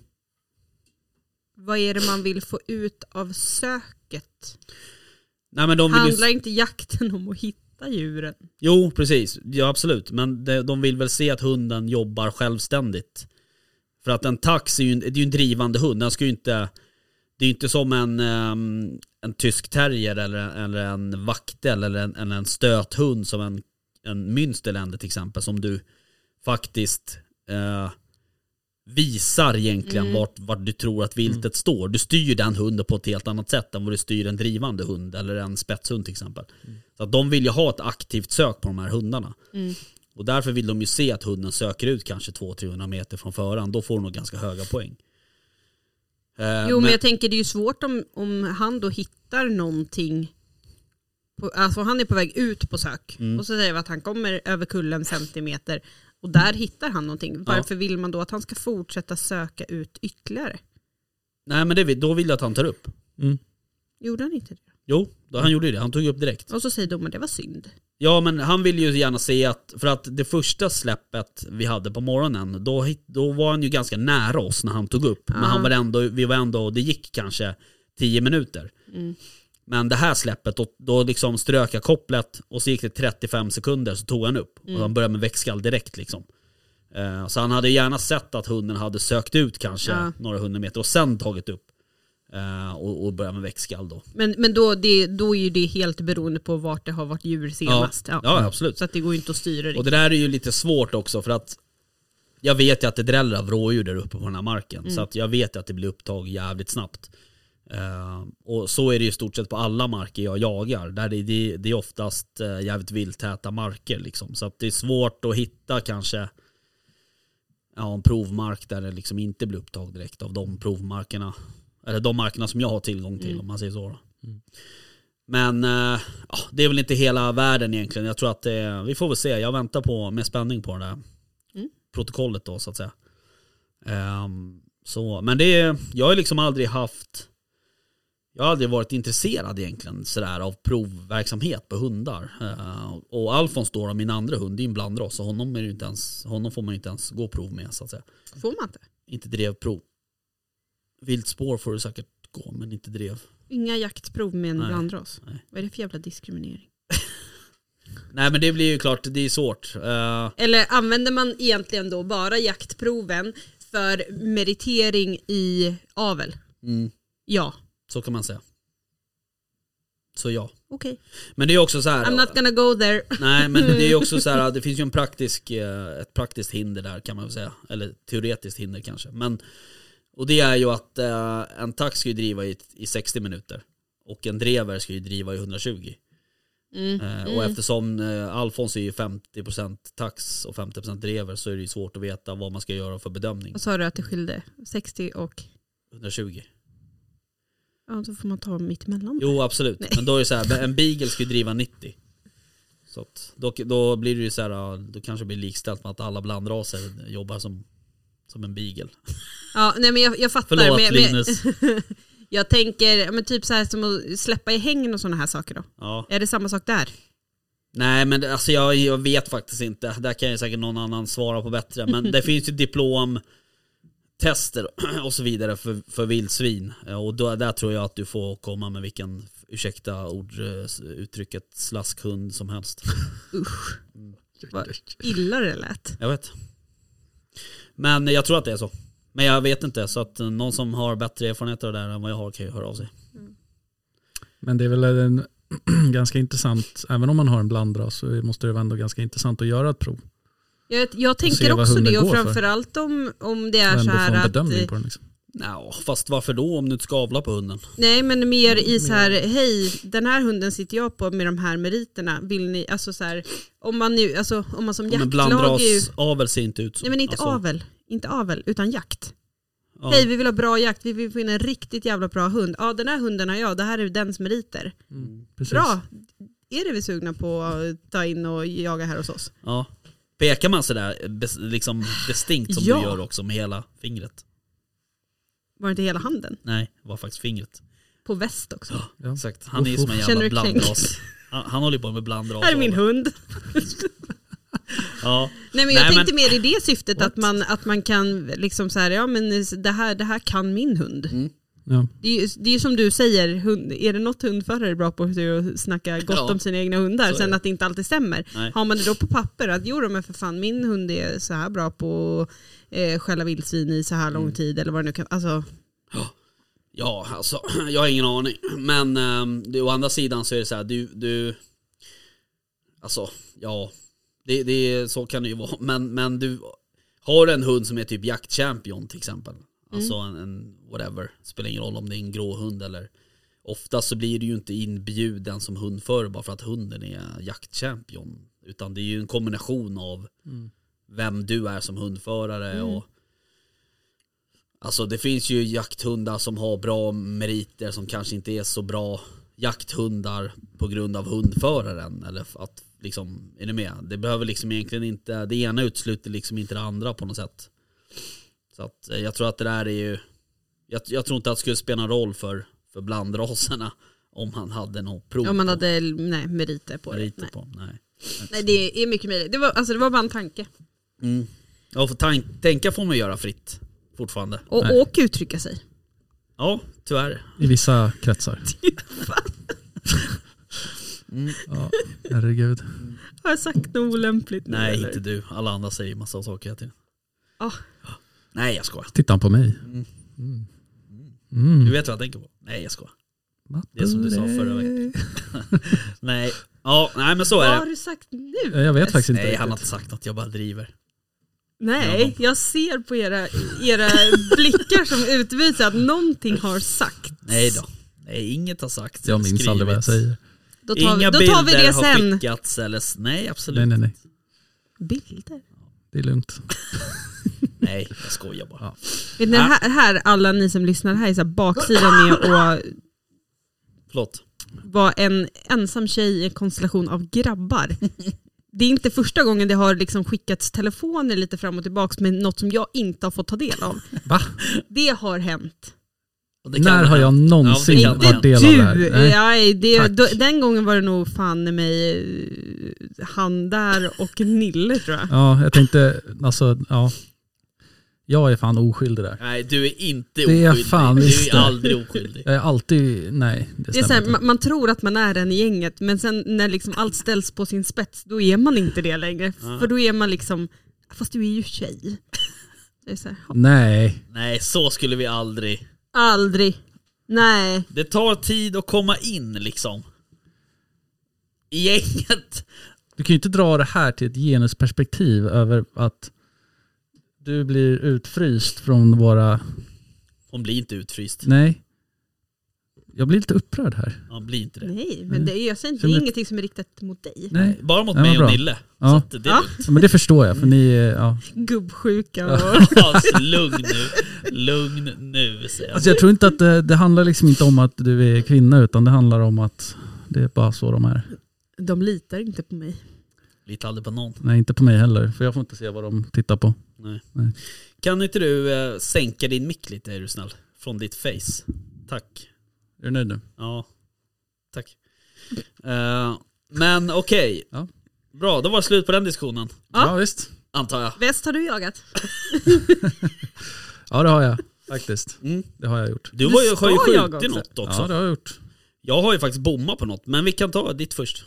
S5: vad är det man vill få ut av söket?
S3: Nej men de vill ju...
S5: Handlar inte jakten om att hitta djuren?
S3: Jo, precis. Ja, absolut. Men de, de vill väl se att hunden jobbar självständigt. För att en tax är ju en, det är ju en drivande hund. Den ska ju inte... Det är ju inte som en, ehm, en tysk terrier eller, eller en vaktel eller en, eller en stöthund som en, en münsterländer till exempel som du faktiskt eh, visar egentligen
S5: Mm.
S3: vart, vart du tror att viltet står. Du styr den hunden på ett helt annat sätt än vad du styr en drivande hund eller en spetshund till exempel. Så att de vill ju ha ett aktivt sök på de här hundarna.
S5: Mm.
S3: Och därför vill de ju se att hunden söker ut kanske 200-300 meter från föraren. Då får de nog ganska höga poäng. Eh,
S5: Jo men jag tänker det är ju svårt om, om han då hittar någonting. På, alltså han är på väg ut på sök
S3: Mm.
S5: och så säger vi att han kommer över kullen 50 meter och där hittar han någonting. Varför vill man då att han ska fortsätta söka ut ytterligare?
S3: Nej men det, vill- då vill jag att han tar upp.
S5: Gjorde han inte det?
S3: Jo, då, han gjorde ju det. Han tog upp direkt.
S5: Och så säger domaren det var synd.
S3: Ja men han vill ju gärna se att, för att det första släppet vi hade på morgonen, då, hit- då var han ju ganska nära oss när han tog upp. Men han var ändå, vi var ändå, det gick kanske 10 minuter. Men det här släppet, då, då liksom strök jag kopplet och så gick det 35 sekunder så tog han upp. Och han började med växtskall direkt liksom. Eh, så han hade gärna sett att hunden hade sökt ut kanske
S5: Ja.
S3: några hundra meter och sen tagit upp. Eh, och, och börjat med växtskall då.
S5: Men, men då, det, då är ju det helt beroende på vart det har varit djur senast.
S3: Ja, ja, absolut.
S5: Så att det går ju inte att styra
S3: Och
S5: riktigt.
S3: det där är ju lite svårt också för att jag vet ju att det dräller av rådjur där uppe på den här marken. Så att jag vet ju att det blir upptag jävligt snabbt. Eh, och så är det ju i stort sett på alla marker jag jagar. Där det, det, det är oftast eh, jävligt vilttäta marker liksom. Så att det är svårt att hitta kanske ja, en provmark där det liksom inte blir upptag direkt av de provmarkerna. Eller de markerna som jag har tillgång till om man säger så. Då. Men eh, ja, det är väl inte hela världen egentligen. Jag tror att det, vi får väl se. Jag väntar på, med spänning på det där
S5: Mm.
S3: protokollet då så att säga. Ehm, så, men det, jag har liksom aldrig haft, jag har aldrig varit intresserad egentligen sådär av provverksamhet på hundar. Eh, och Alfons då, då, min andra hund, det är en blandras så honom, är det ju inte ens, honom får man ju inte ens gå prov med så att säga.
S5: Får man inte?
S3: Inte drevprov. Viltspår får du säkert gå men inte drev. Eh,
S5: Inga jaktprov med en
S3: Nej.
S5: blandras.
S3: Nej.
S5: Vad är det för jävla diskriminering?
S3: Nej men det blir ju klart, det är svårt. Eh,
S5: Eller använder man egentligen då bara jaktproven för meritering i avel?
S3: mm.
S5: Ja,
S3: Så kan man säga. Så ja.
S5: okej.
S3: Men det är också så här.
S5: I'm not gonna go there.
S3: Nej men det är också så här, det finns ju en praktisk, eh, ett praktiskt hinder där kan man väl säga. Eller teoretiskt hinder kanske. Men, och det är ju att eh, en tax ska ju driva i, i 60 minuter. Och en drever ska ju driva i 120.
S5: Mm.
S3: Eh, Och eftersom eh, Alfons är ju 50% tax och 50% drever så är det ju svårt att veta vad man ska göra för bedömning.
S5: Vad sa du att det skilde? 60 och...
S3: 120.
S5: Ja, då får man ta mitt emellan.
S3: Jo absolut, men då är det så här, en beagle ska ju driva 90. Så att, då, då blir det ju så här, ja, då kanske det blir likställt med att alla blandraser jobbar som, som en beagle.
S5: Ja, nej men jag, jag fattar.
S3: Förlåt
S5: men, men,
S3: Linus.
S5: jag tänker, ja, men typ så här som att släppa i hägn och sådana här saker då.
S3: Ja.
S5: Är det samma sak där?
S3: Nej men det- alltså jag, jag vet faktiskt inte, där kan ju säkert någon annan svara på bättre. Men det finns ju diplomtester och så vidare för, för vildsvin. Eh, Och då, där tror jag att du får komma med vilken, ursäkta ord, eh, uttrycket slaskhund som helst.
S5: Illa det lät.
S3: Jag vet. Men jag tror att det är så. Men jag vet inte, så att eh, någon som har bättre erfarenheter av det där än vad jag har kan ju höra av sig.
S4: Men det är väl en ganska intressant, även om man har en blandras så måste det vara ändå ganska intressant att göra ett prov.
S5: Jag, jag tänker
S4: se vad
S5: också
S4: hunden
S5: det och
S4: går för.
S5: framförallt om, om det
S4: Och
S5: är så
S4: ändå få en
S5: här att... eh,
S4: bedömning på den. Liksom.
S3: Nå, fast varför då om du inte ska avla på hunden?
S5: Nej men mer i så här, hej den här hunden sitter jag på med de här meriterna. Vill ni, alltså så här, om man nu, alltså om man som
S3: Men
S5: jaktlag är ju,
S3: blandrasavel ser inte ut så.
S5: Nej men inte
S3: Alltså,
S5: avel, inte avel utan jakt.
S3: ja.
S5: Hej vi vill ha bra jakt, vi vill få in en riktigt jävla bra hund. Ja den här hunden har jag, det här är dens meriter.
S4: Precis.
S5: Bra, är det vi sugna på att ta in och jaga här hos oss?
S3: Ja. Pekar man sådär bes- liksom distinkt som
S5: Ja.
S3: du gör också med hela fingret?
S5: Var det inte hela handen?
S3: Nej, det var faktiskt fingret.
S5: På väst också.
S4: Ja.
S3: Exakt. Han är ju
S4: Uff,
S3: som en
S4: uff.
S3: jävla
S5: Känner du kränkt?
S3: blandras. Han, han håller ju på med blandras.
S5: här är min hund.
S3: Ja.
S5: Nej men jag
S3: Nej, men-
S5: tänkte mer i det syftet att man, att man kan liksom så här, ja men det här, det här kan min hund.
S4: Ja.
S5: Det är ju det är ju som du säger, hund, är det något hundförare är bra på så är det att snacka gott
S3: Ja,
S5: om sina egna hundar,
S3: så är
S5: sen
S3: det.
S5: att det inte alltid stämmer.
S3: Nej.
S5: Har man det då på papper att jo då, men för fan min hund är så här bra på att eh, skälla vildsvin i så här lång
S3: Mm.
S5: tid eller vad det nu kan alltså,
S3: Ja, alltså jag har ingen aning. Men um, det, å andra sidan så är det så här, du, du alltså ja, det, det, är- så kan det ju vara. Men, men du har en hund som är typ jaktchampion till exempel. Alltså en, en whatever, spelar ingen roll om det är en grå hund eller Oftast så blir du ju inte inbjuden som hundförare bara för att hunden är jaktchampion. Utan det är ju en kombination av vem du är som hundförare och Alltså det finns ju jakthundar som har bra meriter som kanske inte är så bra jakthundar på grund av hundföraren. Eller att liksom, är ni med? Det behöver liksom egentligen inte, det ena utesluter liksom inte det andra på något sätt. Så att eh, jag tror att det där är ju, jag, jag tror inte att det skulle spela någon roll för, för blandraserna om han hade något prov
S5: om man
S3: på
S5: hade nej, meriter på det.
S3: meriter
S5: Nej.
S3: på. Nej.
S5: nej det är mycket möjligt. Det var, alltså, det var bara en tanke.
S3: Mm. Ja, för tank, tänka får man göra fritt fortfarande.
S5: Och,
S4: Nej.
S5: och uttrycka sig.
S3: Ja, tyvärr.
S4: I vissa kretsar.
S3: Mm.
S4: Ja, herregud.
S5: Har jag sagt något olämpligt nu?
S3: Nej,
S5: eller? Ah.
S3: inte du. Alla andra säger massa saker hela tiden.
S5: Ja.
S3: Nej, jag skojar.
S4: Tittar han på mig?
S3: Mm.
S4: Mm.
S3: Du
S4: Mm.
S3: vet vad jag tänker på? Nej, jag skojar.
S4: Matte
S3: det är som du sa förra
S4: veckan.
S3: Nej, ja, nej men så
S5: Vad
S3: är
S5: har
S3: det.
S5: du sagt nu?
S4: Jag vet faktiskt inte
S3: Nej, han har inte
S4: riktigt.
S3: sagt något. Jag bara driver.
S5: Nej, jag ser på era, era blickar som utvisar att någonting har sagt.
S3: Nej då. Nej, inget har sagt.
S4: Jag minns aldrig vad jag
S3: skrivits.
S4: säger.
S5: Då tar,
S3: Inga
S5: vi, då
S3: bilder
S5: tar vi det
S3: har
S5: sen.
S3: skickats eller... s- Nej, absolut
S4: Nej, nej, nej.
S5: Bilder?
S4: Det är lugnt.
S3: Nej, jag skojar bara.
S5: Vet ni, här, här, alla ni som lyssnar, här är så här baksidan med att
S3: Förlåt.
S5: vara en ensam tjej i en konstellation av grabbar. Det är inte första gången det har liksom skickats telefoner lite fram och tillbaka med något som jag inte har fått ta del av.
S4: Va?
S5: Det har hänt.
S3: Och det kan
S4: När
S3: väl
S4: har jag
S3: hända.
S4: någonsin
S3: Ja, det kan
S4: varit
S3: hända.
S4: del av det här?
S5: du!
S4: Nej.
S5: Nej, det,
S4: Tack.
S5: då, den gången var det nog fan mig eh, han där och Nille tror jag.
S4: Ja, jag tänkte, alltså, ja. Jag är fan oskyldig där.
S3: Nej, du är inte
S4: är
S3: oskyldig.
S4: jag fan
S3: du
S4: visst
S3: är
S4: det.
S3: aldrig oskyldig.
S4: Jag är alltid, nej, det
S5: Det är så
S4: stämmer
S5: här,
S4: inte.
S5: man, man tror att man är en i gänget men sen när liksom allt ställs på sin spets då är man inte det längre. För då är man liksom, fast du är ju tjej. Det är så här, ja.
S4: Nej,
S3: Nej, så skulle vi aldrig.
S5: aldrig. Nej.
S3: Det tar tid att komma in liksom. I gänget.
S4: du kan ju inte dra det här till ett genusperspektiv över att du blir utfryst från våra,
S3: Hon blir inte utfryst.
S4: nej. Jag blir lite upprörd här.
S3: Hon blir inte det.
S5: Nej, men det är, jag säger inte, det
S4: Mm. Som
S5: är
S4: ett-
S5: ingenting som är riktat mot dig.
S4: Nej,
S3: Bara mot
S4: Nej,
S3: mig
S4: vad
S3: och
S4: bra.
S3: Nille. Så
S4: Ja.
S3: att det är
S5: Ja.
S4: ja, men det förstår jag för ni, eh, ja.
S5: Gubbsjuka och...
S3: Alltså, lugn nu. Lugn nu säger jag.
S4: Alltså jag tror inte att det, det handlar liksom inte om att du är kvinna utan det handlar om att det är bara så de är.
S5: De litar inte på mig.
S3: Lite aldrig på någon.
S4: Nej, inte på mig heller för jag får inte se vad de tittar på.
S3: Kan inte du eh, sänka din mick lite är du snäll? Från ditt face. Tack.
S4: Är du nöjd nu?
S3: Ja. Tack. Eh, men okej.
S4: Ja.
S3: Bra, då var det slut på den diskussionen.
S5: Ja.
S4: visst.
S3: Antar jag.
S5: Väst har du jagat.
S4: Ja det har jag faktiskt.
S3: Mm.
S4: Det har jag gjort.
S3: Du, var ju,
S5: ska
S3: har ju
S5: jaga
S3: skjutit
S5: också.
S3: något också.
S4: Ja det har jag gjort.
S3: Jag har ju faktiskt bommat på något, men vi kan ta ditt först.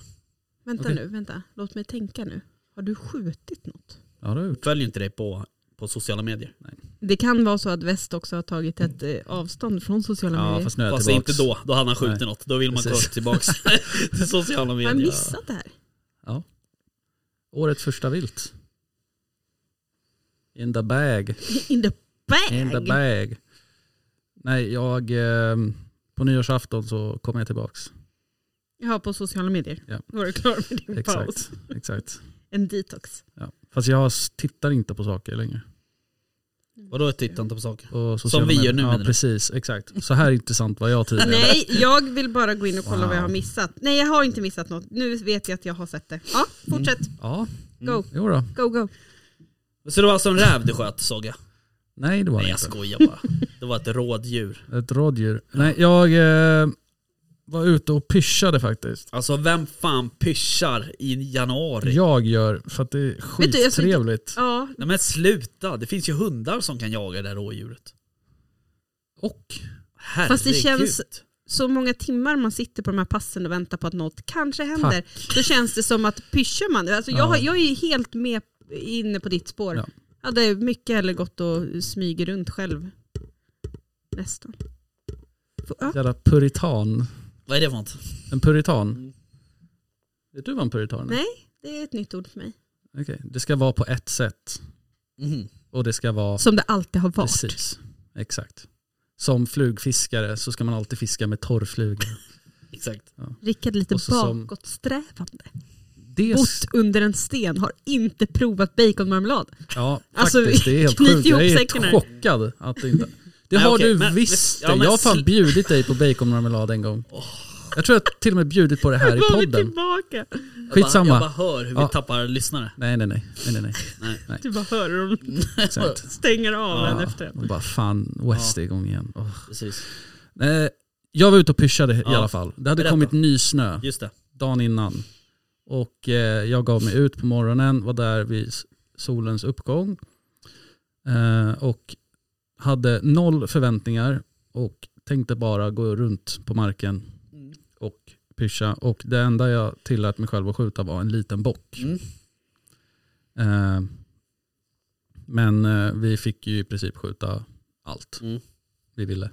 S5: Vänta
S4: Okej.
S5: nu, vänta. Låt mig tänka nu. Har du skjutit något?
S4: Ja det har jag gjort.
S3: Följer inte dig på, på sociala medier.
S5: Det kan vara så att väst också har tagit ett eh, avstånd från sociala
S4: Ja
S5: medier.
S4: fast nu är jag
S3: Fast
S4: tillbaks.
S3: inte då, då hade han skjutit
S4: Nej.
S3: något. Då vill man
S4: Precis.
S3: gå tillbaks till sociala
S5: Har jag
S3: medier.
S5: missat det här?
S4: Årets första vilt. In the bag.
S5: In the bag!
S4: In the bag. Nej jag, eh, på nyårsafton så kommer jag tillbaks.
S5: Ja, på sociala medier.
S4: Ja.
S5: Då var du klar med din paus.
S4: Exakt. Exakt.
S5: En detox.
S4: Ja. Fast jag tittar inte på saker längre.
S3: Vadå tittar inte på saker?
S4: Och
S3: Som
S4: sociala
S3: vi gör
S4: medier.
S3: nu, menar
S4: Ja
S3: du?
S4: precis, exakt. Så här intressant var jag tidigare.
S5: Nej, jag vill bara gå in och kolla
S4: Wow.
S5: vad jag har missat. Nej, jag har inte missat något. Nu vet jag att jag har sett det. Ja,
S4: Mm.
S5: fortsätt.
S4: Ja, Mm.
S5: Go,
S4: jo då.
S5: go, go.
S3: Så det var alltså en räv du sköt såg jag?
S4: Nej det var
S3: Nej
S4: det
S3: jag
S4: inte.
S3: skojar bara. Det var ett rådjur.
S4: Ett rådjur. Nej jag eh, var ute och pyschade faktiskt.
S3: Alltså vem fan pyschar i januari?
S4: Jag gör för att det är
S5: Vet du, jag ser inte-
S4: skittrevligt.
S5: Ja,
S3: Nej men sluta, det finns ju hundar som kan jaga det här rådjuret.
S4: Och
S3: Herregud.
S5: Fast det känns- så många timmar man sitter på de här passen och väntar på att något kanske händer, då känns det som att pyschar man. Alltså jag,
S4: Ja.
S5: har- jag är ju helt med inne på ditt spår.
S4: Ja.
S5: Hade mycket hellre gått och smyger runt själv. Nästan. Får- Ja.
S4: jävla puritan.
S3: Vad är det för något?
S4: En puritan.
S3: Mm.
S4: Vet du vad en puritan är?
S5: Nej. Det är ett nytt ord för mig.
S4: Okej. Det ska vara på ett sätt.
S3: Mhm.
S4: Och det ska vara
S5: Som det alltid har varit.
S4: precis. Exakt. Som flugfiskare så ska man alltid fiska med torrflugor.
S3: Exakt.
S5: Rickard lite
S4: Och så som-
S5: bakåtsträvande.
S4: Det är s-
S5: Bott under en sten, har inte provat baconmarmelad.
S4: Ja,
S5: Alltså,
S4: faktiskt. Det är helt
S5: knyt
S4: sjukt. Jag är
S5: ihop
S4: helt
S5: säcken här.
S4: chockad att det inte... Det
S3: Nej,
S4: har
S3: okej,
S4: du
S3: men-
S4: visst
S3: ja, men
S4: Jag har fan
S3: sl-
S4: bjudit dig på baconmarmelad en gång. Jag tror jag till och med bjudit på det här i
S5: Var vi
S4: podden.
S5: tillbaka?
S4: Skitsamma.
S3: Jag bara, jag bara hör hur vi
S4: Ja.
S3: tappar lyssnare.
S4: Nej, nej, nej. nej, nej, nej.
S5: Du bara hör hur de
S4: Exakt.
S5: stänger av en
S4: Ja,
S5: efter en.
S4: och bara fan, West är igång igen. Åh.
S3: Precis.
S4: Eh, Jag var ute och pyschade i
S3: Ja.
S4: alla fall. Det hade
S3: Berätta.
S4: kommit ny snö
S3: Just det.
S4: dagen innan. Och eh, jag gav mig ut på morgonen, var där vid s- solens uppgång. Eh, och hade Mm. noll förväntningar och tänkte bara gå runt på marken och pyscha och det enda jag tillät mig själv att skjuta var en liten bock.
S3: Mm.
S4: Eh, men eh, vi fick ju i princip skjuta allt
S3: Mm.
S4: vi ville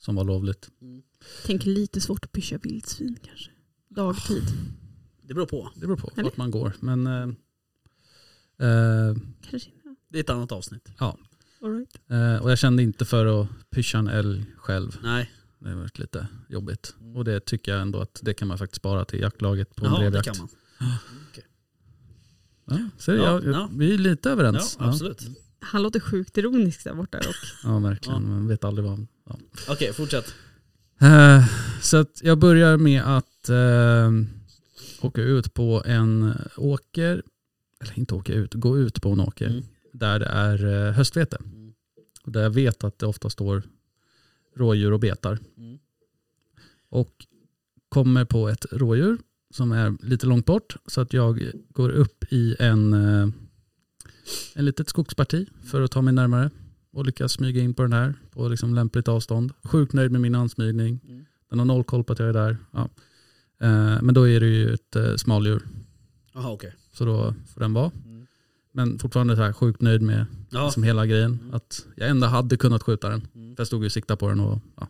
S4: som var lovligt.
S5: Tänk lite svårt att pyscha vildsvin kanske. Dagtid.
S3: Det beror på.
S4: Det beror på
S5: Eller?
S4: vart man går. Men, eh, eh,
S5: Kanske.
S3: Det är ett annat avsnitt.
S5: All right.
S4: eh, och jag kände inte för att pyscha en älg själv.
S3: Nej,
S4: Det har varit lite jobbigt. Och det tycker jag ändå att det kan man faktiskt spara till jaktlaget på en
S3: Jaha, Mm. det
S4: drevjakt.
S3: kan man.
S4: Ja, ser du,
S3: Ja,
S4: jag, jag,
S3: ja.
S4: Vi är lite
S3: Ja,
S4: överens. Ja,
S3: absolut.
S5: Han låter sjukt ironisk där borta dock.
S4: ja verkligen.
S3: Ja.
S4: Man vet aldrig vad... Ja.
S3: Okej, fortsätt.
S4: Eh, Så att jag börjar med att eh, åka ut på en åker, eller inte åka ut, gå ut på en åker
S3: Mm.
S4: där det är eh, höstvete.
S3: Mm.
S4: Och där jag vet att det ofta står rådjur och betar.
S3: Mm.
S4: Och kommer på ett rådjur som är lite långt bort så att jag går upp i en, eh, en litet skogsparti för att ta mig närmare och lyckas smyga in på den här på liksom lämpligt avstånd. Sjukt nöjd med min ansmygning.
S3: Mm.
S4: Den har noll koll på att jag är där. Ja. Eh, Men då är det ju ett eh, smaldjur
S3: Jaha, okej.
S4: så då får den vara.
S3: Mm.
S4: Men fortfarande så här sjukt nöjd med
S3: Ja.
S4: liksom hela grejen.
S3: Mm.
S4: Att jag ändå hade kunnat skjuta den.
S3: Mm.
S4: För jag stod ju och siktade på den. Och, ja.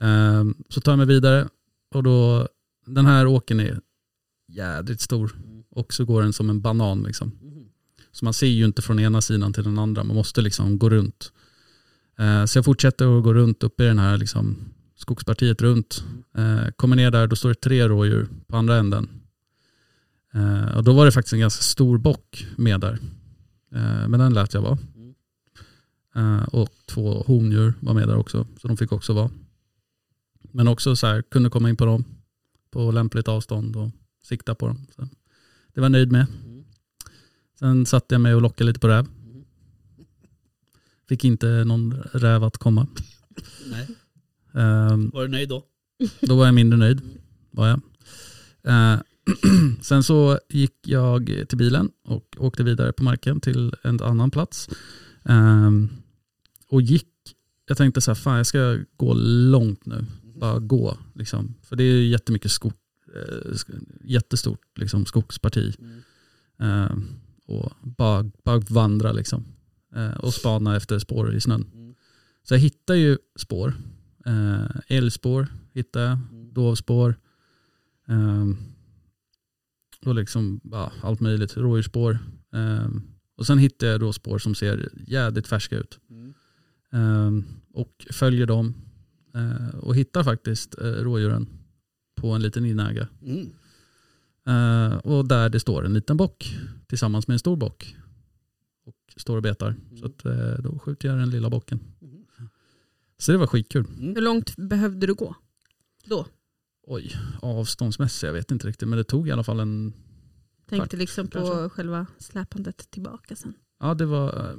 S4: Ehm, så tar jag mig vidare och då, den här åkern är jädrigt stor.
S3: Mm.
S4: Och så går den som en banan liksom.
S3: Mhm.
S4: Så man ser ju inte från ena sidan till den andra. Man måste liksom gå runt. Eh, så jag fortsätter att gå runt upp i den här liksom, skogspartiet runt. Eh, kommer ner där, då står det tre rådjur på andra änden. Eh, och då var det faktiskt en ganska stor bock med där. Eh, men den lät jag vara. Eh, och två hondjur var med där också. Så de fick också vara. Men också så här, kunde komma in på dem på lämpligt avstånd och sikta på dem. Så det var jag nöjd med.
S3: Mm.
S4: Sen satte jag mig och lockade lite på räv.
S3: Mm.
S4: Fick inte någon räv att komma.
S3: Nej.
S4: Ehm,
S3: Var du nöjd då?
S4: då var jag mindre nöjd. Var jag. Eh, sen så gick jag till bilen och åkte vidare på marken till en annan plats. Ehm, och gick, jag tänkte så här, fan jag ska gå långt nu. Bara gå liksom. För det är ju jättemycket skog, eh, sk- jättestort liksom, skogsparti.
S3: Mm.
S4: Eh, och bara, bara vandra liksom. Eh, och spana efter spår i snön.
S3: Mm.
S4: Så jag hittar ju spår. Eh, älgspår hittar jag, dovspår. Eh, och liksom bara allt möjligt, rådjursspår. Eh, och sen hittar jag då spår som ser jädrigt färska ut.
S3: Mm.
S4: Eh, och följer dem. Eh, och hittar faktiskt eh, rådjuren på en liten inäga.
S3: Mm.
S4: Eh, och där det står en liten bock tillsammans med en stor bock. Och står och betar. Så att, eh, då skjuter jag den lilla bocken.
S3: Mm.
S4: Så det var skitkul.
S5: Hur långt behövde du gå?
S4: Oj, avståndsmässigt, jag vet inte riktigt. Men det tog i alla fall en...
S5: Tänkte
S4: Kvart,
S5: liksom på
S4: kanske.
S5: själva släpandet tillbaka sen.
S4: Ja, det var... eh,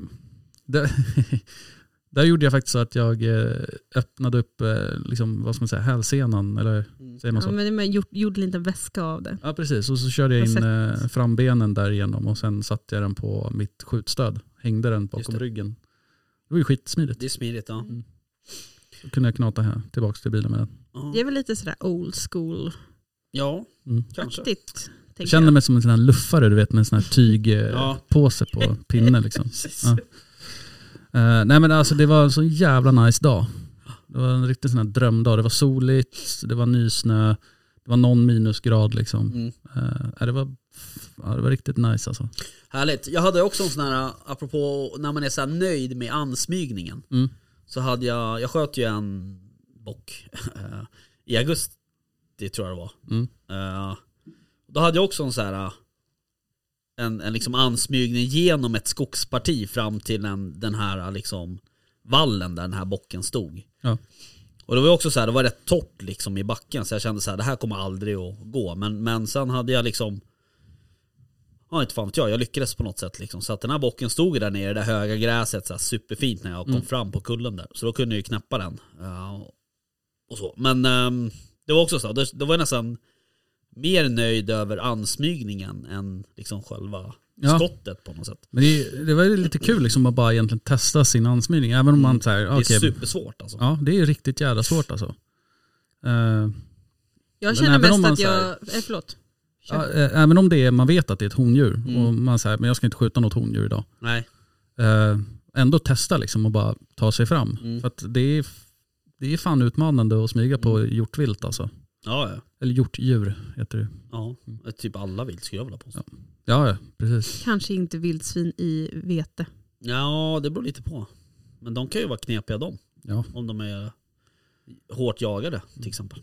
S4: Det, där gjorde jag faktiskt så att jag eh, öppnade upp eh, liksom, vad ska man säga, hälsenan. Eller
S3: Mm.
S4: säger man
S5: Ja,
S4: så?
S5: men man gjorde, gjorde en liten väska av det.
S4: Ja, precis. Och så körde jag
S5: Jag
S4: in
S5: har sett.
S4: eh, frambenen där igenom och sen satte jag den på mitt skjutstöd. Hängde den bakom
S3: det.
S4: ryggen. Det var ju skitsmidigt.
S3: Det är smidigt ja.
S4: Då kunde jag knata här, tillbaka till bilen med den.
S3: Ja,
S5: Det är väl lite sådär old school-aktigt.
S3: ja
S4: Mm.
S3: kanske.
S5: tänker
S4: Jag kände mig som en sån här luffare, du vet med en sån här
S3: Ja.
S4: tygpåse på pinnen liksom.
S3: Precis.
S4: Ja. Eh, nej men alltså det var en så jävla nice dag. Det var en riktig sån här drömdag. Det var soligt, det var nysnö, det var någon minusgrad liksom.
S3: Mm.
S4: Eh, nej, det, var, ja, det var riktigt nice alltså.
S3: Härligt. Jag hade också en sån här, apropå när man är så här nöjd med ansmygningen.
S4: Mm.
S3: Så hade jag, jag sköt ju en bock eh, i augusti tror jag det var.
S4: Mm.
S3: Eh, Då hade jag också en sån här, eh, en, en liksom ansmygning genom ett skogsparti fram till den, den här eh, liksom vallen där den här bocken stod.
S4: Ja.
S3: Och det var ju också så här, det var rätt torrt liksom i backen så jag kände så här, det här kommer aldrig att gå. Men, men sen hade jag liksom Ja inte fan vet jag, jag lyckades på något sätt liksom. Så att den här bocken stod ju där nere i det höga gräset så här, superfint när jag kom
S4: Mm.
S3: fram på kullen där. Så då kunde jag ju knäppa den. Ja, och så. Men ehm, det var också så, det, det var jag nästan mer nöjd över ansmygningen än liksom själva
S4: Ja.
S3: skottet på något sätt.
S4: Men det, det var ju lite kul liksom att bara egentligen testa sin ansmygning. Även om man så här,
S3: Mm. Det är
S4: okej,
S3: supersvårt alltså.
S4: Ja, det är ju riktigt jävla svårt alltså. Eh,
S5: Jag
S4: Men
S5: känner
S4: även om
S5: mest
S4: man
S5: att
S4: så här-
S5: jag... Eh, förlåt. Kör.
S4: Ja, eh, även om det är, man vet att det är ett hondjur
S3: Mm.
S4: och man säger men jag ska inte skjuta något hondjur idag.
S3: Nej.
S4: Eh, ändå testa liksom och bara ta sig fram.
S3: Mm.
S4: För att det är, det är fan utmanande att smyga på hjortvilt alltså.
S3: Ja, ja.
S4: Eller hjortdjur heter det.
S3: ja. Typ alla vilt skulle jag vilja påstå.
S4: Mm. Ja, ja precis.
S5: Kanske inte vildsvin i vete.
S3: Ja, det beror lite på. Men de kan ju vara knepiga de.
S4: Ja.
S3: Om de är hårt jagade till exempel.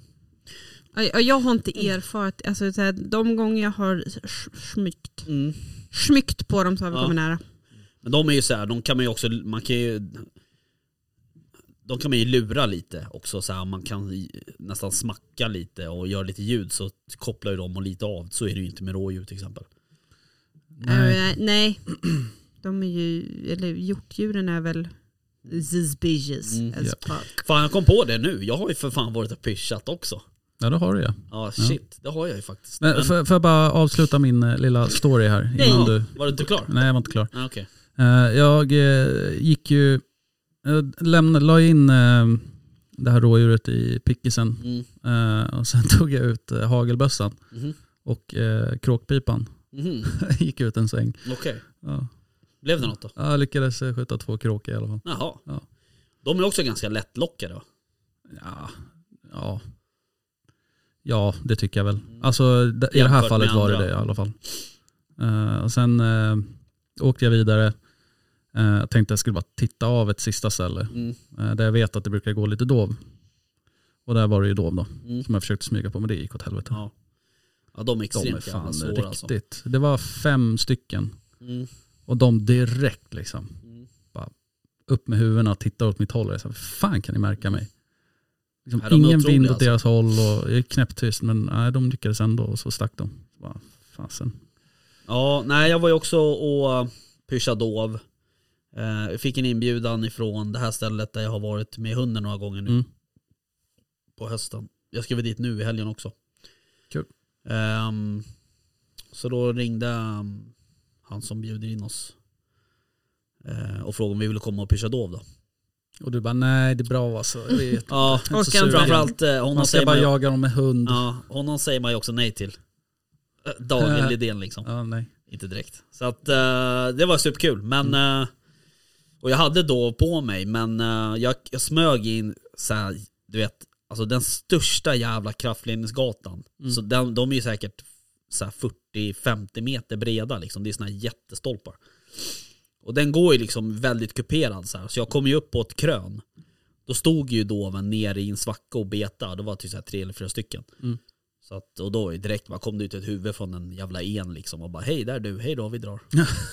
S5: Ja, ja, Jag har inte erfarit, alltså, så här, de gånger jag har sch- smygt,
S4: Mm.
S5: smygt på dem så har vi
S3: Ja.
S5: kommit nära.
S3: Men de är ju så här, de kan man ju också, man kan ju de kan man ju lura lite också, så här, man kan i- nästan smacka lite och göra lite ljud så kopplar ju de och lite av. Så är det ju inte med rådjur till exempel.
S4: Nej.
S5: Eh, nej. De är ju, eller hjortdjuren är väl suspicious
S3: Mm,
S5: as
S4: ja.
S5: fuck.
S3: Fan jag kom på det nu, jag har ju för fan varit och pyschat också.
S4: Ja, det har du ja.
S3: Ja shit, det har jag ju faktiskt.
S4: Men,
S3: Men-
S4: Får, får jag bara avsluta min eh, lilla story här?
S5: Nej.
S4: Innan du...
S3: Var du inte klar?
S4: Nej, jag var inte klar.
S3: Ah, Okej.
S4: Eh, Jag eh, gick ju, jag lämnade, la in eh, det här rådjuret i pickisen
S3: Mm.
S4: eh, och sen tog jag ut eh, hagelbössan
S3: Mhm.
S4: och eh, kråkpipan.
S3: Mhm.
S4: gick ut en sväng.
S3: Okej,
S4: Ja.
S3: blev det något då?
S4: Jag lyckades eh, skjuta två kråkor i alla fall.
S3: Jaha.
S4: Ja.
S3: De är också ganska lättlockade va?
S4: Ja, ja. ja det tycker jag väl. Alltså d- i det
S3: Jämfört
S4: här
S3: med
S4: fallet var det
S3: andra.
S4: det i alla fall. Eh, och sen eh, åkte jag vidare. Eh, Jag tänkte jag skulle bara titta av ett sista ställe
S3: Mm.
S4: eh, där jag vet att det brukar gå lite dov. Och där var det ju dov då,
S3: Mm.
S4: som jag försökte smyga på, men det gick åt helvete.
S3: Ja. Ja de är
S4: de är
S3: extremt jävla
S4: fan
S3: svåra
S4: riktigt.
S3: alltså.
S4: Det var fem stycken
S3: Mm.
S4: och de direkt liksom
S3: Mm.
S4: upp med huvudena och tittar åt mitt håll. Och jag sa, "Vad fan kan ni märka mig? Liksom,
S3: Ja, de är
S4: ingen
S3: otroliga
S4: vind åt
S3: alltså.
S4: deras håll och jag är knäpptyst men nej, de lyckades ändå och så stack de. Bara, fasen.
S3: Ja, nej jag var ju också och eh, pyschade dov. Eh, jag fick en inbjudan ifrån det här stället där jag har varit med hunden några gånger nu
S4: Mm.
S3: på hösten. Jag ska väl dit nu i helgen också.
S4: Kul.
S3: Ehm, så då ringde ehm, han som bjuder in oss eh, och frågade om vi ville komma och pyscha dov då.
S4: Och du bara nej det är bra alltså. Jag vet.
S3: Ja,
S4: är inte så
S3: men
S4: sur.
S3: framförallt eh, honom
S4: Man ska
S3: säger
S4: bara
S3: man ju,
S4: jaga dem med hund. Ja.
S3: ja, honom säger man ju också nej till. Eh, Dagen
S4: Eh.
S3: Lidén liksom.
S4: nej.
S3: Inte direkt. Så att eh, det var superkul. Men, eh, och jag hade då på mig, men eh, jag, jag smög in så här, du vet, alltså den största jävla kraftledningsgatan. Så den, de är ju säkert så här 40-50 meter breda liksom. Det är såna här jättestolpar. Och den går ju liksom väldigt kuperad så här. Så jag kom ju upp på ett krön. Då stod ju doven nere i en svacka och beta. Det var typ så här tre eller fyra stycken. Så att, och då är det direkt bara kom det ut ett huvud från en jävla en liksom och bara hej där du, hej då vi drar.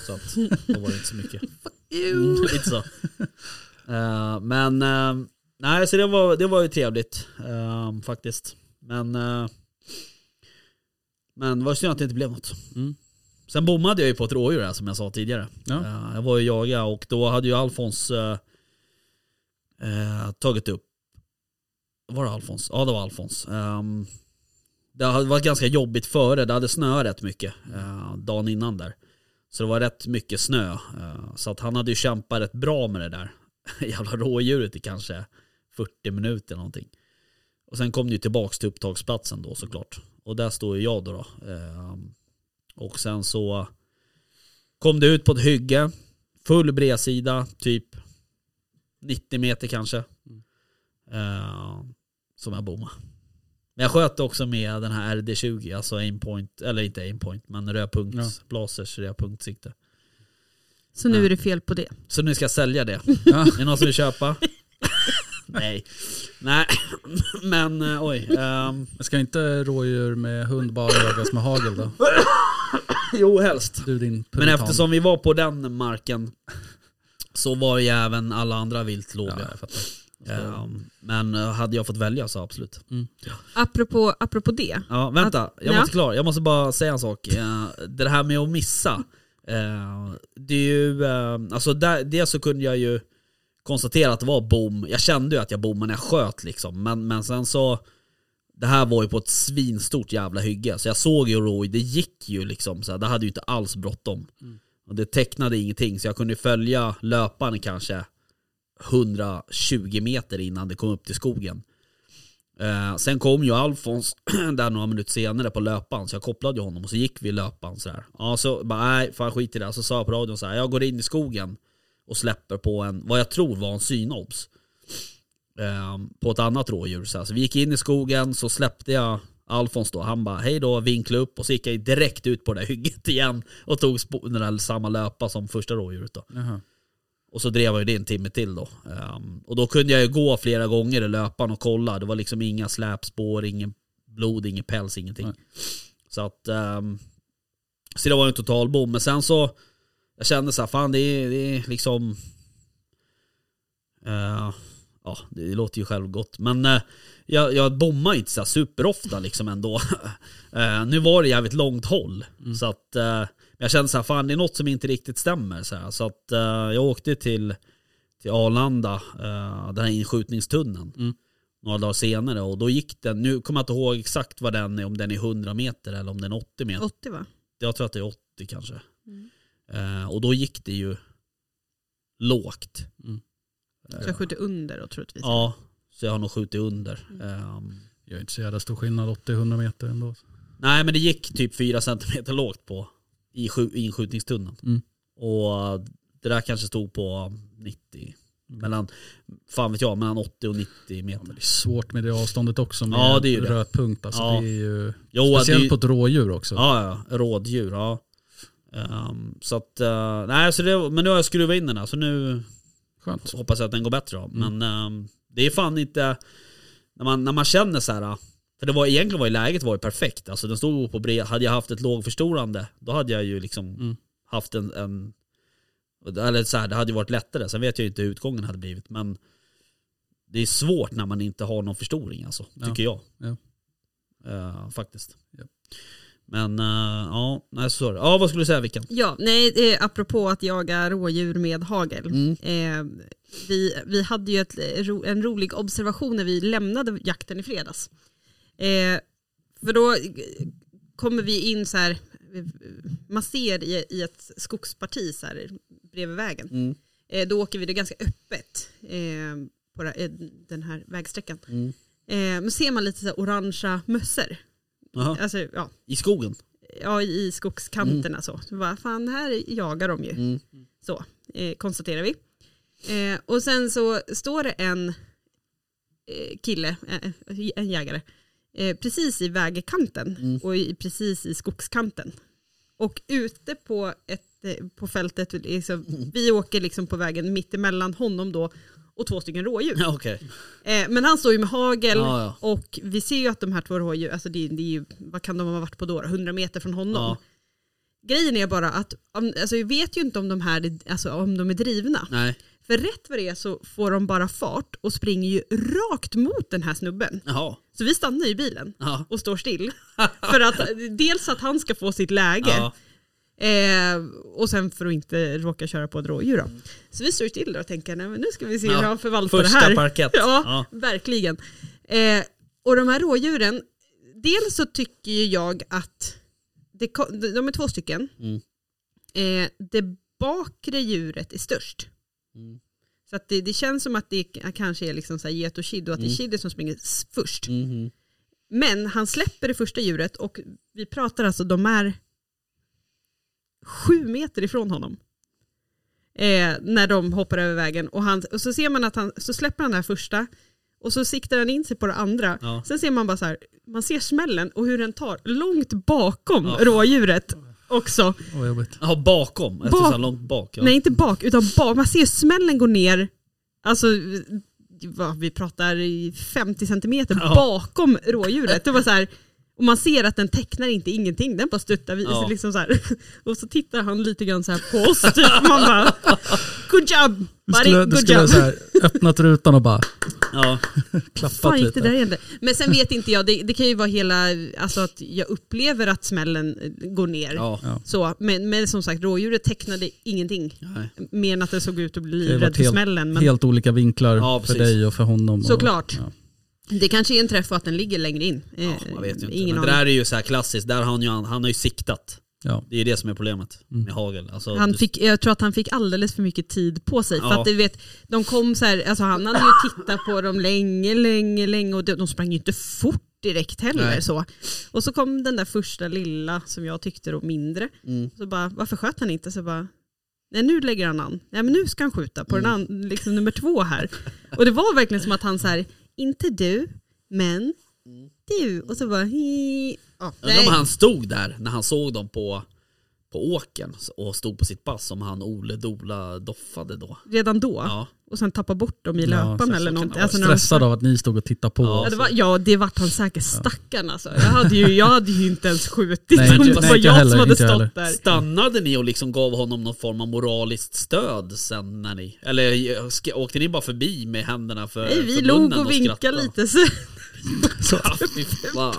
S3: så att, då var det inte så mycket. Mm, Lite så. Eh, men eh, nej, så det var, det var ju trevligt eh, faktiskt. Men, eh, men det var synd att det inte blev något.
S4: Mm.
S3: Sen bommade jag ju på ett rådjur här som jag sa tidigare.
S4: Ja.
S3: Eh, jag var ju jaga och då hade ju Alfons eh, eh, tagit upp, var det Alfons? Ja det var Alfons. Ehm, det hade varit ganska jobbigt före, det hade snöat rätt mycket eh, dagen innan där. Så det var rätt mycket snö. eh, så att han hade ju kämpat rätt bra med det där jävla rådjuret i kanske 40 minuter någonting. Och sen kom det ju tillbaks till upptagsplatsen då såklart. Och där står ju jag då. då. Eh, och sen så kom det ut på ett hygge. Full bredsida, typ 90 meter kanske. Eh, som jag bommade. Men jag sköt också med den här RD20, alltså aimpoint, eller inte aimpoint, men rödpunkts, blasers rödpunktsikte.
S5: Så nu
S3: Ja.
S5: är det fel på det.
S3: Så nu ska jag sälja det.
S4: Ja.
S3: Är det någon som vill köpa? Nej. Nej, men eh, oj. ehm,
S4: Men ska inte rådjur med hund bara jagas med hagel då?
S3: jo, helst.
S4: Du din
S3: Men
S4: puritan.
S3: eftersom vi var på den marken så var ju även alla andra vilt
S4: Ja,
S3: låga.
S4: jag fattar.
S3: Ehm, men eh, hade jag fått välja så absolut.
S5: Apropå, apropå det.
S3: Ja, vänta. Jag
S5: Ja.
S3: måste klar. Jag måste bara säga en sak. Eh, Det här med att missa. eh, Det är ju, eh, alltså där, det så kunde jag ju konstatera att det var bom. Jag kände ju att jag bommade när jag sköt liksom. Men, men sen så, det här var ju på ett svinstort jävla hygge. Så jag såg ju Roy, det gick ju liksom. Så här, det hade ju inte alls bråttom. Och det tecknade ingenting. Så jag kunde ju följa löparen kanske 120 meter innan det kom upp till skogen. Eh, sen kom ju Alfons där några minuter senare på löpan så jag kopplade ju honom och så gick vi i löpan sådär. Ja så bara nej fan skit i det. Så sa jag på radion så här, jag går in i skogen och släpper på en, vad jag tror var en synobs. Eh, på ett annat rådjur så, här. så vi gick in i skogen så släppte jag Alfons då, han bara hej då, vinklade upp och så gick jag direkt ut på det där hygget igen och tog spo- den där samma löpa som första rådjuret då. Och så drev jag ju det en timme till då. Ehm, och då kunde jag ju gå flera gånger i löpan och kolla. Det var liksom inga släpspår, ingen blod, ingen päls, ingenting.
S4: Nej.
S3: Så att... ehm, så det var ju en total bom. Men sen så... Jag kände så här, fan det är, det är liksom... eh, ja, det låter ju självgott. Men eh, jag, jag bommar ju inte så här superofta liksom ändå. Eh, nu var det jävligt långt håll. Så att... eh, men jag kände så här, fan det är något som inte riktigt stämmer. Så, här. så att eh, jag åkte till, till Arlanda, eh, den här inskjutningstunneln,
S4: Mm.
S3: några dagar senare. Och då gick den, nu kommer jag inte ihåg exakt vad den är, om den är 100 meter eller om den är 80 meter.
S5: 80 va?
S3: Jag tror att det är 80 kanske.
S5: Mm.
S3: Eh, och då gick det ju lågt.
S4: Mm.
S5: Så jag skjuter under då troligtvis.
S3: Ja, så jag har nog skjutit under.
S5: Mm.
S3: Ehm,
S4: Jag är inte så jävla stor skillnad, 80-100 meter ändå.
S3: Nej men det gick typ 4 centimeter lågt på i sju- i inskjutningstunneln.
S4: Mm.
S3: Och det där kanske stod på 90, mellan, fan vet jag, mellan 80 och 90
S4: Ja, men
S3: meter.
S4: det är svårt med det avståndet också med
S3: Ja, det är ju det.
S4: röd punkt. Alltså,
S3: Ja.
S4: det är ju,
S3: Jo, det är
S4: speciellt
S3: ju-
S4: på ett rådjur också.
S3: Ja, ja, rådjur. Ja. Ehm, så att, eh, nej, så det, men nu har jag skruvat in den här så nu
S4: Skönt.
S3: hoppas jag att den går bättre då. Men ehm, det är fan inte, när man, när man känner så här, äh, för det var egentligen var ju läget var ju perfekt. Alltså den stod på bred, hade jag haft ett lågförstorande då hade jag ju liksom
S4: Mm.
S3: haft en, en eller så här, det hade ju varit lättare. Sen vet jag ju inte hur utgången hade blivit men det är svårt när man inte har någon förstoring alltså,
S4: Ja.
S3: tycker jag.
S4: Ja.
S3: Eh, faktiskt.
S4: Ja.
S3: Men eh, ja, nej så är det. Ja, vad skulle du säga Vickan?
S5: Ja, nej, eh, apropå att jaga rådjur med hagel.
S3: Mm.
S5: Eh, vi, vi hade ju ett, eh, ro, en rolig observation när vi lämnade jakten i fredags. Eh, för då eh, kommer vi in så här, eh, man ser i, i ett skogsparti så här, bredvid vägen.
S3: Mm.
S5: Eh, då åker vi, det är ganska öppet eh, på ra- eh, den här vägsträckan.
S3: Mm.
S5: Eh, men ser man lite så här orangea mössor,
S3: Jaha.
S5: alltså, ja,
S3: I skogen? så
S5: ja, i skogskanterna så. så bara, fan, här jagar de ju,
S3: Mm.
S5: så eh, konstaterar vi. Eh, och sen så står det en eh, kille, eh, en jägare, eh, precis i vägkanten
S3: Mm.
S5: och i, precis i skogskanten. Och ute på, ett, eh, på fältet, liksom,
S3: Mm.
S5: vi åker liksom på vägen mitt emellan honom då och två stycken rådjur.
S3: Ja, Okej.
S5: Eh, men han står ju med hagel
S3: Ja, ja.
S5: och vi ser ju att de här två rådjuren, alltså det, det är ju, vad kan de ha varit på då? 100 meter från honom.
S3: Ja.
S5: Grejen är bara att om, alltså vi vet ju inte om de här alltså om de är drivna.
S3: Nej.
S5: För rätt vad det är så får de bara fart och springer ju rakt mot den här snubben.
S3: Jaha.
S5: Så vi stannar i bilen
S3: Ja.
S5: och står still. för att eh, dels att han ska få sitt läge
S3: Ja.
S5: eh, och sen för att inte råka köra på ett rådjur. Då. Så vi står still där och tänker nej, men nu ska vi se
S3: Ja.
S5: hur han förvaltar
S3: Första
S5: det här.
S3: parkett.
S5: Ja,
S3: Ja.
S5: verkligen. Eh, och de här rådjuren, dels så tycker ju jag att det, ko- de de är två stycken.
S3: Mm.
S5: Eh, det bakre djuret är störst.
S3: Mm.
S5: Så att det, det känns som att det k- kanske är liksom så här get och kid och att
S3: Mm.
S5: det är kidden som springer s- först.
S3: Mhm.
S5: Men han släpper det första djuret och vi pratar alltså, de är sju meter ifrån honom. Eh, när de hoppar över vägen och, han, och så ser man att han, så släpper han det här första och så siktar han in sig på det andra.
S3: Ja.
S5: Sen ser man bara så här, man ser smällen och hur den tar långt bakom
S3: Ja.
S5: rådjuret också.
S4: Vad jobbigt.
S3: Jaha, bakom? Efter
S5: Bak-
S3: så här långt bak? Ja.
S5: Nej inte bak, utan bak. Man ser smällen gå ner, alltså vad, vi pratar i 50 centimeter
S3: Ja.
S5: bakom rådjuret. Det var så här, och man ser att den tecknar inte ingenting, den bara stuttar vid.
S3: Ja.
S5: Liksom så här. Och så tittar han lite grann så här på oss, typ. man bara good job!
S4: Du
S5: buddy,
S4: skulle, du
S5: good
S4: skulle
S5: job.
S4: så här, öppnat rutan och bara
S3: Ja.
S5: Fan,
S4: klappat
S5: gick det där
S4: lite.
S5: igen? Men sen vet inte jag, det, det kan ju vara hela, alltså att jag upplever att smällen går ner.
S3: ja.
S4: Ja.
S5: Så, men, men som sagt, rådjuret tecknade ingenting.
S3: Nej.
S5: Mer än att det såg ut att bli
S4: Det var
S5: livrädd för
S4: helt-
S5: smällen. Men
S4: Helt olika vinklar
S3: Ja,
S4: för
S3: precis.
S4: dig och för honom.
S5: Såklart.
S4: Och, ja.
S5: det kanske är en träff och att den ligger längre in. Eh,
S3: Ja, man vet ju inte.
S5: Ingen
S3: Men det
S5: aning.
S3: där är ju så här klassiskt, där har han, ju, han har ju siktat.
S4: Ja.
S3: Det är det som är problemet
S4: Mm.
S3: med hagel. Alltså,
S5: Han
S3: du-
S5: fick, jag tror att han fick alldeles för mycket tid på sig. För
S3: Ja.
S5: att du vet, de kom så här, alltså han hade ju tittat på dem länge, länge, länge och de, de sprang ju inte fort direkt heller.
S3: Nej.
S5: Så. Och så kom den där första lilla som jag tyckte då mindre.
S3: Mm.
S5: Så bara, varför sköt han inte? Så bara, nej nu lägger han an. Nej men nu ska han skjuta på
S3: Mm.
S5: den an, liksom nummer två här. Och det var verkligen som att han så här, inte du, men
S3: Mm.
S5: du. Och så bara, hi. Ja,
S3: Undrar om han stod där när han såg dem på, på åken och stod på sitt pass som han Ole Dola doffade då.
S5: Redan då.
S3: Ja.
S5: Och sen tappa bort dem i
S4: Ja,
S5: löpan
S4: så- så
S5: eller
S3: kan
S5: någonting.
S3: det
S5: Alltså när de-
S4: Stressad av att ni stod och tittade på.
S3: Ja,
S5: Ja det, var, ja, det vart han säkert. Stackarn alltså. Jag hade ju, jag hade ju inte ens skjutit.
S4: Nej,
S5: om
S4: inte-
S5: det var
S4: nej, inte
S5: jag
S4: heller,
S5: som hade
S4: inte jag
S5: stått där.
S3: Stannade ni och liksom gav honom någon form av moraliskt stöd sen när ni, eller sk- åkte ni bara förbi med händerna för
S5: Nej, vi
S3: för
S5: log
S3: munnen
S5: och vinkade
S3: skrattade?
S5: lite. Så.
S3: Ja, fy fan.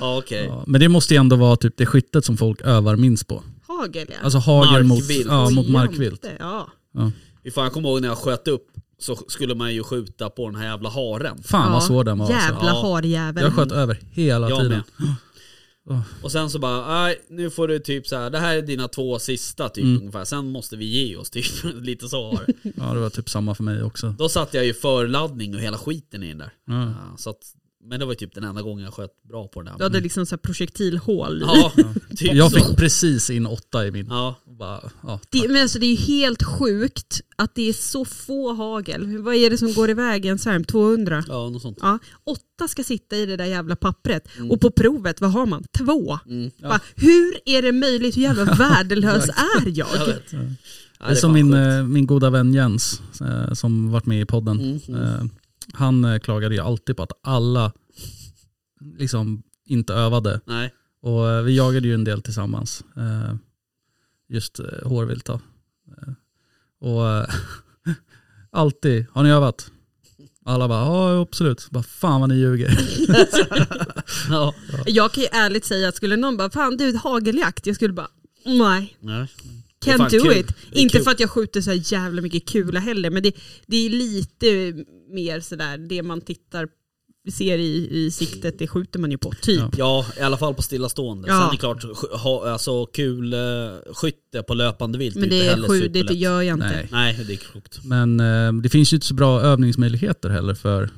S3: Ja, okej.
S4: Ja, men det måste ju ändå vara typ det skyttet som folk övar minst på.
S5: Hagel ja.
S4: Alltså hagel mot,
S3: Markvilt.
S4: ja, mot
S5: Oj,
S4: markvilt.
S5: jämte, Ja.
S3: Fy fan, Jag kommer ihåg när jag sköt upp så skulle man ju skjuta på den här jävla haren.
S4: Fan
S5: ja.
S4: vad svår den var. Alltså.
S5: Jävla
S3: Ja.
S5: harjävel.
S4: Jag sköt över hela
S3: Jag
S4: tiden.
S3: med. Och sen så bara, nej nu får du typ så här. det här är dina två sista typ
S4: Mm.
S3: ungefär, sen måste vi ge oss typ. Lite så var det.
S4: Ja, det var typ samma för mig också.
S3: Då satte jag ju förladdning och hela skiten i den där.
S4: Ja.
S3: Ja, så att, men det var ju typ den enda gången jag sköt bra på den
S5: Du
S3: där.
S5: hade liksom så här projektilhål. i.
S3: Ja, typ
S4: Jag
S3: så.
S4: fick precis in åtta i min.
S3: Ja.
S4: Och Bara, ja,
S5: Det, men alltså, det är ju helt sjukt att det är så få hagel. Vad är det som går i vägen? Svärm 200?
S3: ja, något sånt.
S5: Ja, åtta ska sitta i det där jävla pappret
S3: Mm.
S5: och på provet, vad har man? Två. Bara, hur är det möjligt? Hur jävla värdelös är jag?
S3: Jag vet. Ja,
S4: det är som
S3: fan
S4: min,
S3: sjukt.
S4: eh, min goda vän Jens eh, som varit med i podden. Eh, Han eh, klagade ju alltid på att alla liksom inte övade.
S3: Nej.
S4: Och eh, vi jagade ju en del tillsammans. eh, Just eh, hårvilt då. Eh, Och eh, alltid, har ni övat? Alla bara, ja jo, absolut. Bara, fan vad ni ljuger.
S3: Ja.
S5: Jag kan ju ärligt säga att skulle någon bara, fan du hageljakt, jag skulle bara, nej.
S3: Nej. Det är fan
S5: Can't do
S3: kul.
S5: it.
S3: Det är
S5: Inte
S3: kul.
S5: för att jag skjuter så här jävla mycket kula heller, men det, det är lite mer sådär, det man tittar, ser i, i siktet, det skjuter man ju på, typ.
S4: Ja.
S3: Ja, i alla fall på stillastående.
S5: Ja.
S3: Sen är det klart, sk- ha, alltså kul eh, skytte på löpande vilt
S5: Men det
S3: inte
S5: är
S3: heller
S5: sjukt, det
S3: superlätt.
S5: gör jag inte.
S4: Nej.
S3: Nej, det är klokt.
S4: Men eh, det finns ju inte så bra övningsmöjligheter heller för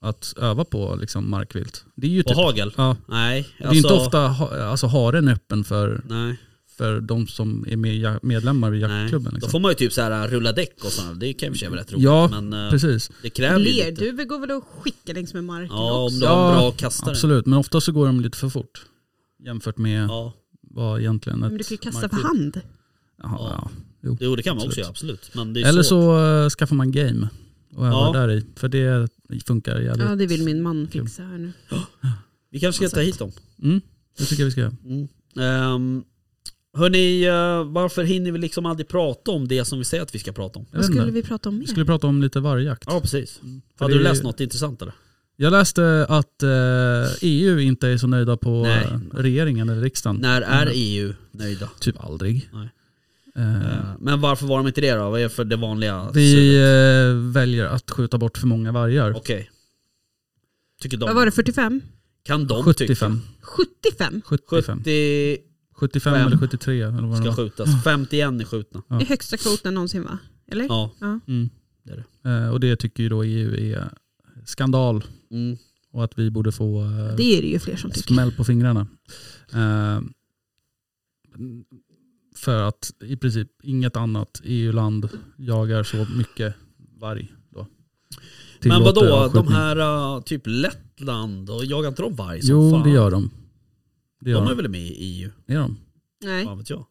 S4: att öva på liksom, markvilt. Det är ju
S3: På
S4: typ,
S3: hagel?
S4: ja,
S3: Nej.
S4: det är inte ofta ha, alltså, haren är öppen för,
S3: Nej,
S4: för de som är med, ja- medlemmar i
S3: nej.
S4: jaktklubben.
S3: Då
S4: Liksom.
S3: får man ju typ så här rulla däck och sådär. Det kan ju i och för sig vara rätt roligt.
S4: Ja,
S3: men eh,
S4: Precis,
S3: det kräver ju lite.
S5: Lerduver går väl att skicka längs med marken
S3: Ja,
S5: också.
S3: om du har en
S4: Ja,
S3: bra kastare.
S4: absolut. Men ofta så går de lite för fort jämfört med
S3: Ja,
S4: vad egentligen ett
S5: Men du kan ju kasta för
S4: markvilt-
S5: hand.
S4: Jaha,
S3: Ja.
S4: ja.
S3: jo, det kan man
S4: Absolut.
S3: också göra, absolut. Men det är
S4: Eller
S3: svårt.
S4: så eh, skaffar man game och
S3: Ja.
S4: övar där i. För det funkar jävligt.
S5: Ja, det vill min man fixa här nu.
S3: Vi kanske ska ta hit dem.
S4: Mm, det tycker jag vi ska göra.
S3: Um, hörni, eh, varför hinner vi liksom aldrig prata om det som vi säger att vi ska prata om?
S4: Jag
S5: Vad
S4: vet inte.
S5: skulle vi prata om mer?
S4: Vi skulle prata om lite vargjakt.
S3: Ja, precis.
S4: För
S3: Hade
S4: det
S3: du
S4: är-
S3: läst något intressant eller?
S4: Jag läste att eh, EU inte är så nöjda på
S3: Nej.
S4: eh, regeringen eller riksdagen.
S3: När är E
S4: Mm.
S3: EU nöjda?
S4: Typ aldrig.
S3: Nej.
S4: Eh,
S3: Eh, Men varför var de inte det då? Vad är för det vanliga?
S4: vi eh, väljer att skjuta bort för många vargar.
S3: Okej. Tycker
S5: Vad var
S3: de?
S5: det, 45?
S3: Kan de
S4: 75,
S5: 75?
S4: 75,
S3: tycka? 70
S4: 75
S3: fem.
S4: eller 73 eller vad det Ah.
S3: ska
S4: var.
S3: skjutas. 51 är skjutna.
S4: Ja.
S5: Det är högsta kvoten någonsin va? Eller?
S3: Ja.
S4: Mm.
S3: Det är
S4: Eh, och det tycker ju då EU är skandal
S3: Mm.
S4: och att vi borde få eh,
S5: Det är det ju fler som tycker.
S4: smäll på fingrarna. Eh, för att i princip inget annat EU-land jagar så mycket varg. Då.
S3: Men
S4: Tillåter
S3: vadå, de
S4: avskjutning.
S3: här eh, typ Lettland, och jagar inte de varg som
S4: Jo,
S3: fan?
S4: det gör de. Det gör
S3: De
S4: de.
S3: är väl med i EU?
S4: Det gör de.
S5: Nej,
S3: Vad vet jag?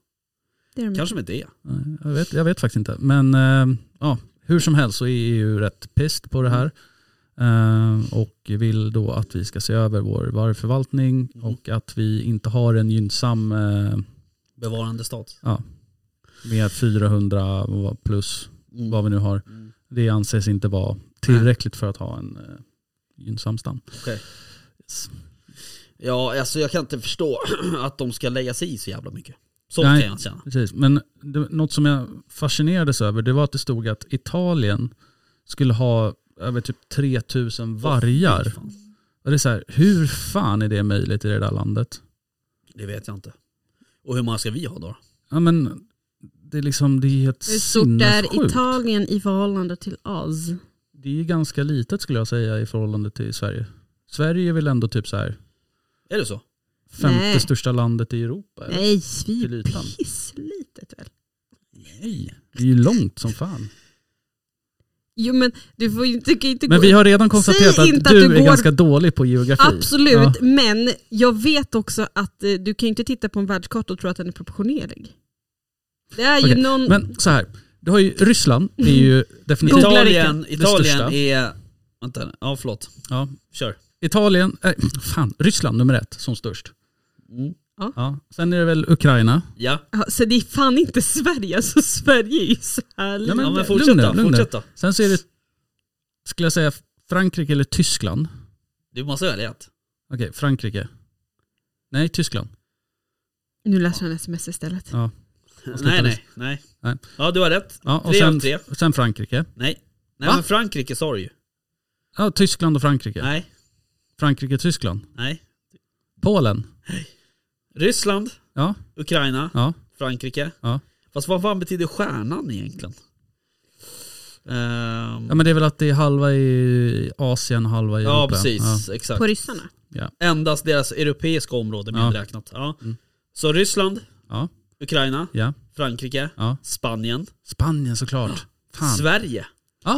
S5: det är de inte.
S3: Kanske de inte är.
S4: Nej, Jag, vet, jag vet faktiskt inte. Men eh, ja, hur som helst så är EU rätt pist på det här. Eh, och vill då att vi ska se över vår vargförvaltning
S3: Mhm.
S4: och att vi inte har en gynnsam eh,
S3: Bevarande stat.
S4: med 400 och plus
S3: Mm.
S4: vad vi nu har.
S3: Mm.
S4: Det anses inte vara tillräckligt för att ha en eh, gynnsam stam.
S3: Okej.
S4: Yes.
S3: Ja, alltså jag kan inte förstå att de ska lägga sig i så jävla mycket. Så
S4: Nej.
S3: kan jag känna.
S4: Precis, men det, något som jag fascinerades över det var att det stod att Italien skulle ha över typ 3000 vargar.
S3: Fan,
S4: Och det är så här, hur fan är det möjligt i det där landet?
S3: Det vet jag inte. Och hur många ska vi ha då?
S4: Ja men det är liksom, det är helt
S5: Hur stort är
S4: sinnessjukt.
S5: Italien i förhållande till oss?
S4: Det är ganska litet skulle jag säga i förhållande till Sverige. Sverige är väl ändå typ så här
S3: Är det så?
S4: femte
S5: Nej.
S4: största landet i Europa. eller?
S5: Nej, vi
S4: Till ytan.
S5: är pisslitet väl?
S4: Nej. Det är ju långt som fan.
S5: Jo men du får ju inte, kan ju inte
S4: Men
S5: gå
S4: vi har redan konstaterat
S5: Säg
S4: att du,
S5: inte att du
S4: är
S5: går-
S4: ganska dålig på geografi.
S5: Absolut,
S4: Ja.
S5: men jag vet också att eh, du kan ju inte titta på en världskarta och tro att den är proportionerlig. Det är ju
S4: Okej,
S5: någon... Mm.
S4: Men så här, du har ju Ryssland, det är ju definitivt
S5: Googla det
S3: Italien,
S4: Det
S3: Italien
S4: största.
S3: är... Vänta, ja förlåt.
S4: Ja.
S3: Kör.
S4: Italien, äh, fan, Ryssland nummer ett som störst.
S3: Mm.
S4: Ja. Sen är det väl Ukraina.
S3: Ja.
S5: Ja, så Alltså, det är fan inte Sverige, alltså Sverige är ju så här
S4: Nej, men
S3: ja, men
S4: lugn nu,
S3: fortsätta,
S4: lugn nu.
S3: fortsätta.
S4: Sen så är det, skulle jag säga Frankrike eller Tyskland.
S3: Du måste välja ett.
S4: Okej, Frankrike. Nej, Tyskland.
S5: Nu läser jag en sms istället.
S4: Ja.
S3: Nej, nej, nej,
S4: Nej.
S3: Ja, du har rätt.
S4: Ja, och
S3: Tre av
S4: sen,
S3: tre.
S4: sen Frankrike.
S3: Nej. Nej
S4: Va?
S3: men Frankrike sa du ju.
S4: Ja, Tyskland och Frankrike.
S3: Nej,
S4: Frankrike, Tyskland.
S3: nej.
S4: Polen.
S3: Ryssland,
S4: Ja,
S3: Ukraina,
S4: ja.
S3: Frankrike.
S4: Ja.
S3: Fast vad fan betyder stjärnan egentligen? Ehm,
S4: ja, men det är väl att det är halva i Asien och halva i
S3: ja,
S4: Europa.
S3: precis.
S4: Ja.
S3: Exakt.
S5: På ryssarna?
S3: Endast deras europeiska område
S4: Ja.
S3: medräknat. Ja.
S4: Mm.
S3: Så Ryssland,
S4: Ja.
S3: Ukraina,
S4: Ja.
S3: Frankrike,
S4: Ja.
S3: Spanien,
S4: Spanien såklart. Fan.
S3: Sverige.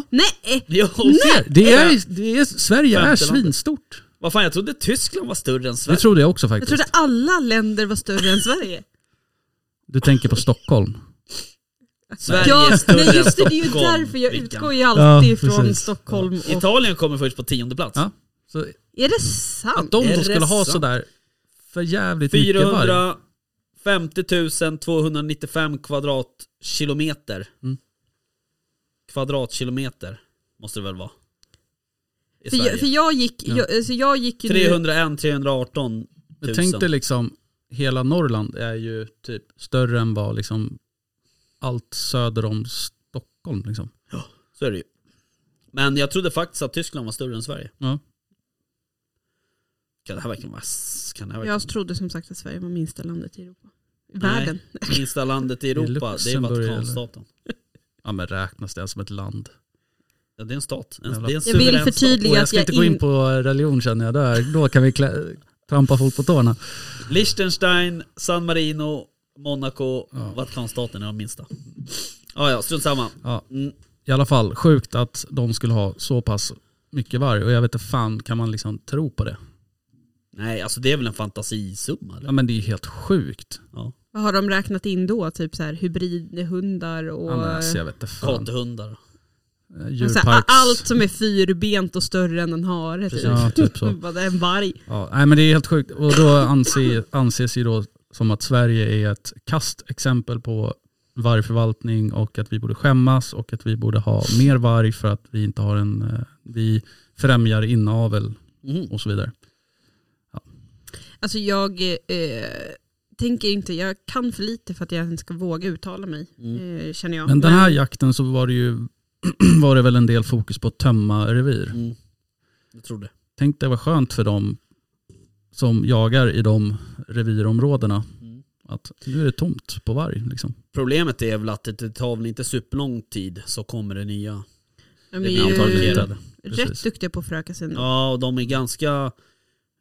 S5: Nej!
S3: Jo,
S4: Nej, det är, det är, Sverige är
S3: Femte landet.
S4: svinstort.
S3: Vad fan, jag trodde Tyskland var större än
S4: Det
S3: Sverige.
S4: trodde jag också
S5: Jag
S4: faktiskt.
S5: trodde alla länder var större än Sverige.
S4: Du tänker på Stockholm.
S3: Sverige är
S5: ja,
S3: större
S5: nej, just det,
S3: än
S5: det är ju
S3: Stockholm,
S5: därför jag
S3: Rickard.
S5: utgår ju alltid
S4: Ja,
S5: från
S4: precis.
S5: Stockholm. Och,
S3: Italien kommer först på tionde plats.
S4: Ja. Så
S5: är det sant?
S4: att de
S3: Är det
S4: då skulle ha
S3: sant?
S4: sådär för jävligt mycket varg.
S3: 450 295 kvadratkilometer.
S4: Mm.
S3: Kvadratkilometer måste det väl vara? I
S5: För
S3: Sverige.
S5: jag, för jag gick,
S4: Ja.
S5: jag, alltså jag gick ju nu-
S3: 301 318
S4: Jag
S3: 000.
S4: tänkte liksom, hela Norrland är ju typ större än vad liksom allt söder om Stockholm liksom.
S3: Så är det ju. Men jag trodde faktiskt att Tyskland var större än Sverige.
S4: Ja.
S3: Kan det här verkligen vara... s- Kan det här verkligen
S5: Jag trodde som sagt att Sverige var minsta landet i Europa. I
S3: Nej.
S5: Världen.
S3: minsta landet i
S4: Det är
S3: Europa? Det är
S4: Luxemburg,
S3: Vatikanstaten.
S4: Ja men räknas det som ett land?
S3: Ja, det är en stat. En,
S4: Jävla-
S3: det är en
S5: Jag vill
S3: suverän
S5: förtydliga-
S4: Och jag ska
S5: jag
S4: inte gå in
S5: in-
S4: på religion känner jag, där. då kan vi klä, trampa folk på tårna.
S3: stat. Liechtenstein, San Marino, Monaco,
S4: Ja.
S3: Vatikanstaten är de minsta. Ja, ja, strunt samma.
S4: Ja.
S3: Mm.
S4: I alla fall, sjukt att de skulle ha så pass mycket varg och jag vet inte fan kan man liksom tro på det?
S3: Nej, alltså det är väl en fantasisumma? Eller?
S4: Ja men det är ju helt sjukt.
S5: Vad har de räknat in då? Typ så här hybridhundar och...
S4: Ja, men alltså, jag vet inte fan.
S3: Kathundar.
S5: så
S3: Alltså,
S4: Djurparks...
S5: här, allt som är fyrbent och större än en hare. Typ.
S4: Ja, typ så.
S5: Bara, det är En varg.
S4: Ja, nej men det är helt sjukt. Och då anses, anses ju då som att Sverige är ett kastexempel på vargförvaltning och att vi borde skämmas och att vi borde ha mer varg för att vi inte har en, eh, vi främjar inavel
S3: Mm.
S4: och så vidare.
S5: Alltså jag eh, tänker inte, jag kan för lite för att jag ens ska våga uttala mig. Eh, känner jag.
S4: Men den här jakten så var det ju, var det väl en del fokus på att tömma revir.
S3: Mm. Jag tror det.
S4: Tänk det var skönt för dem som jagar i de revirområdena
S3: Mm.
S4: att nu är det tomt på varg liksom.
S3: Problemet är väl att det- det tar väl inte superlång tid så kommer det nya. det
S5: de är
S3: blir antagligen
S5: ju
S3: inte.
S4: Planterade.
S5: rätt
S4: precis.
S5: duktiga på att föröka sig ändå.
S3: Ja, och de är ganska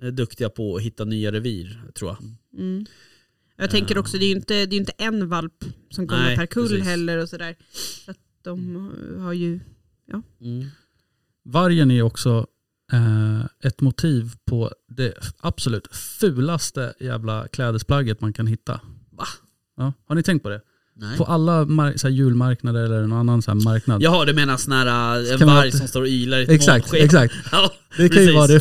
S3: eh, duktiga på att hitta nya revir, tror jag.
S5: Mm. Jag tänker också, det är ju inte, det är ju inte en valp som kommer
S3: Nej,
S5: per kull
S3: precis.
S5: heller och sådär. Så att de har ju,
S4: Mm. Vargen är också eh, ett motiv på det absolut fulaste jävla klädesplagget man kan hitta.
S3: Va?
S4: Ja, har ni tänkt på det?
S3: Nej.
S4: På alla mar- så här julmarknader eller någon annan så här marknad.
S3: Jaha, du menar sån här eh, en
S4: Kan man-
S3: varg som står och ylar i ett
S4: exakt,
S3: månsken?
S4: exakt.
S3: Ja,
S4: Det kan ju
S3: precis.
S4: vara det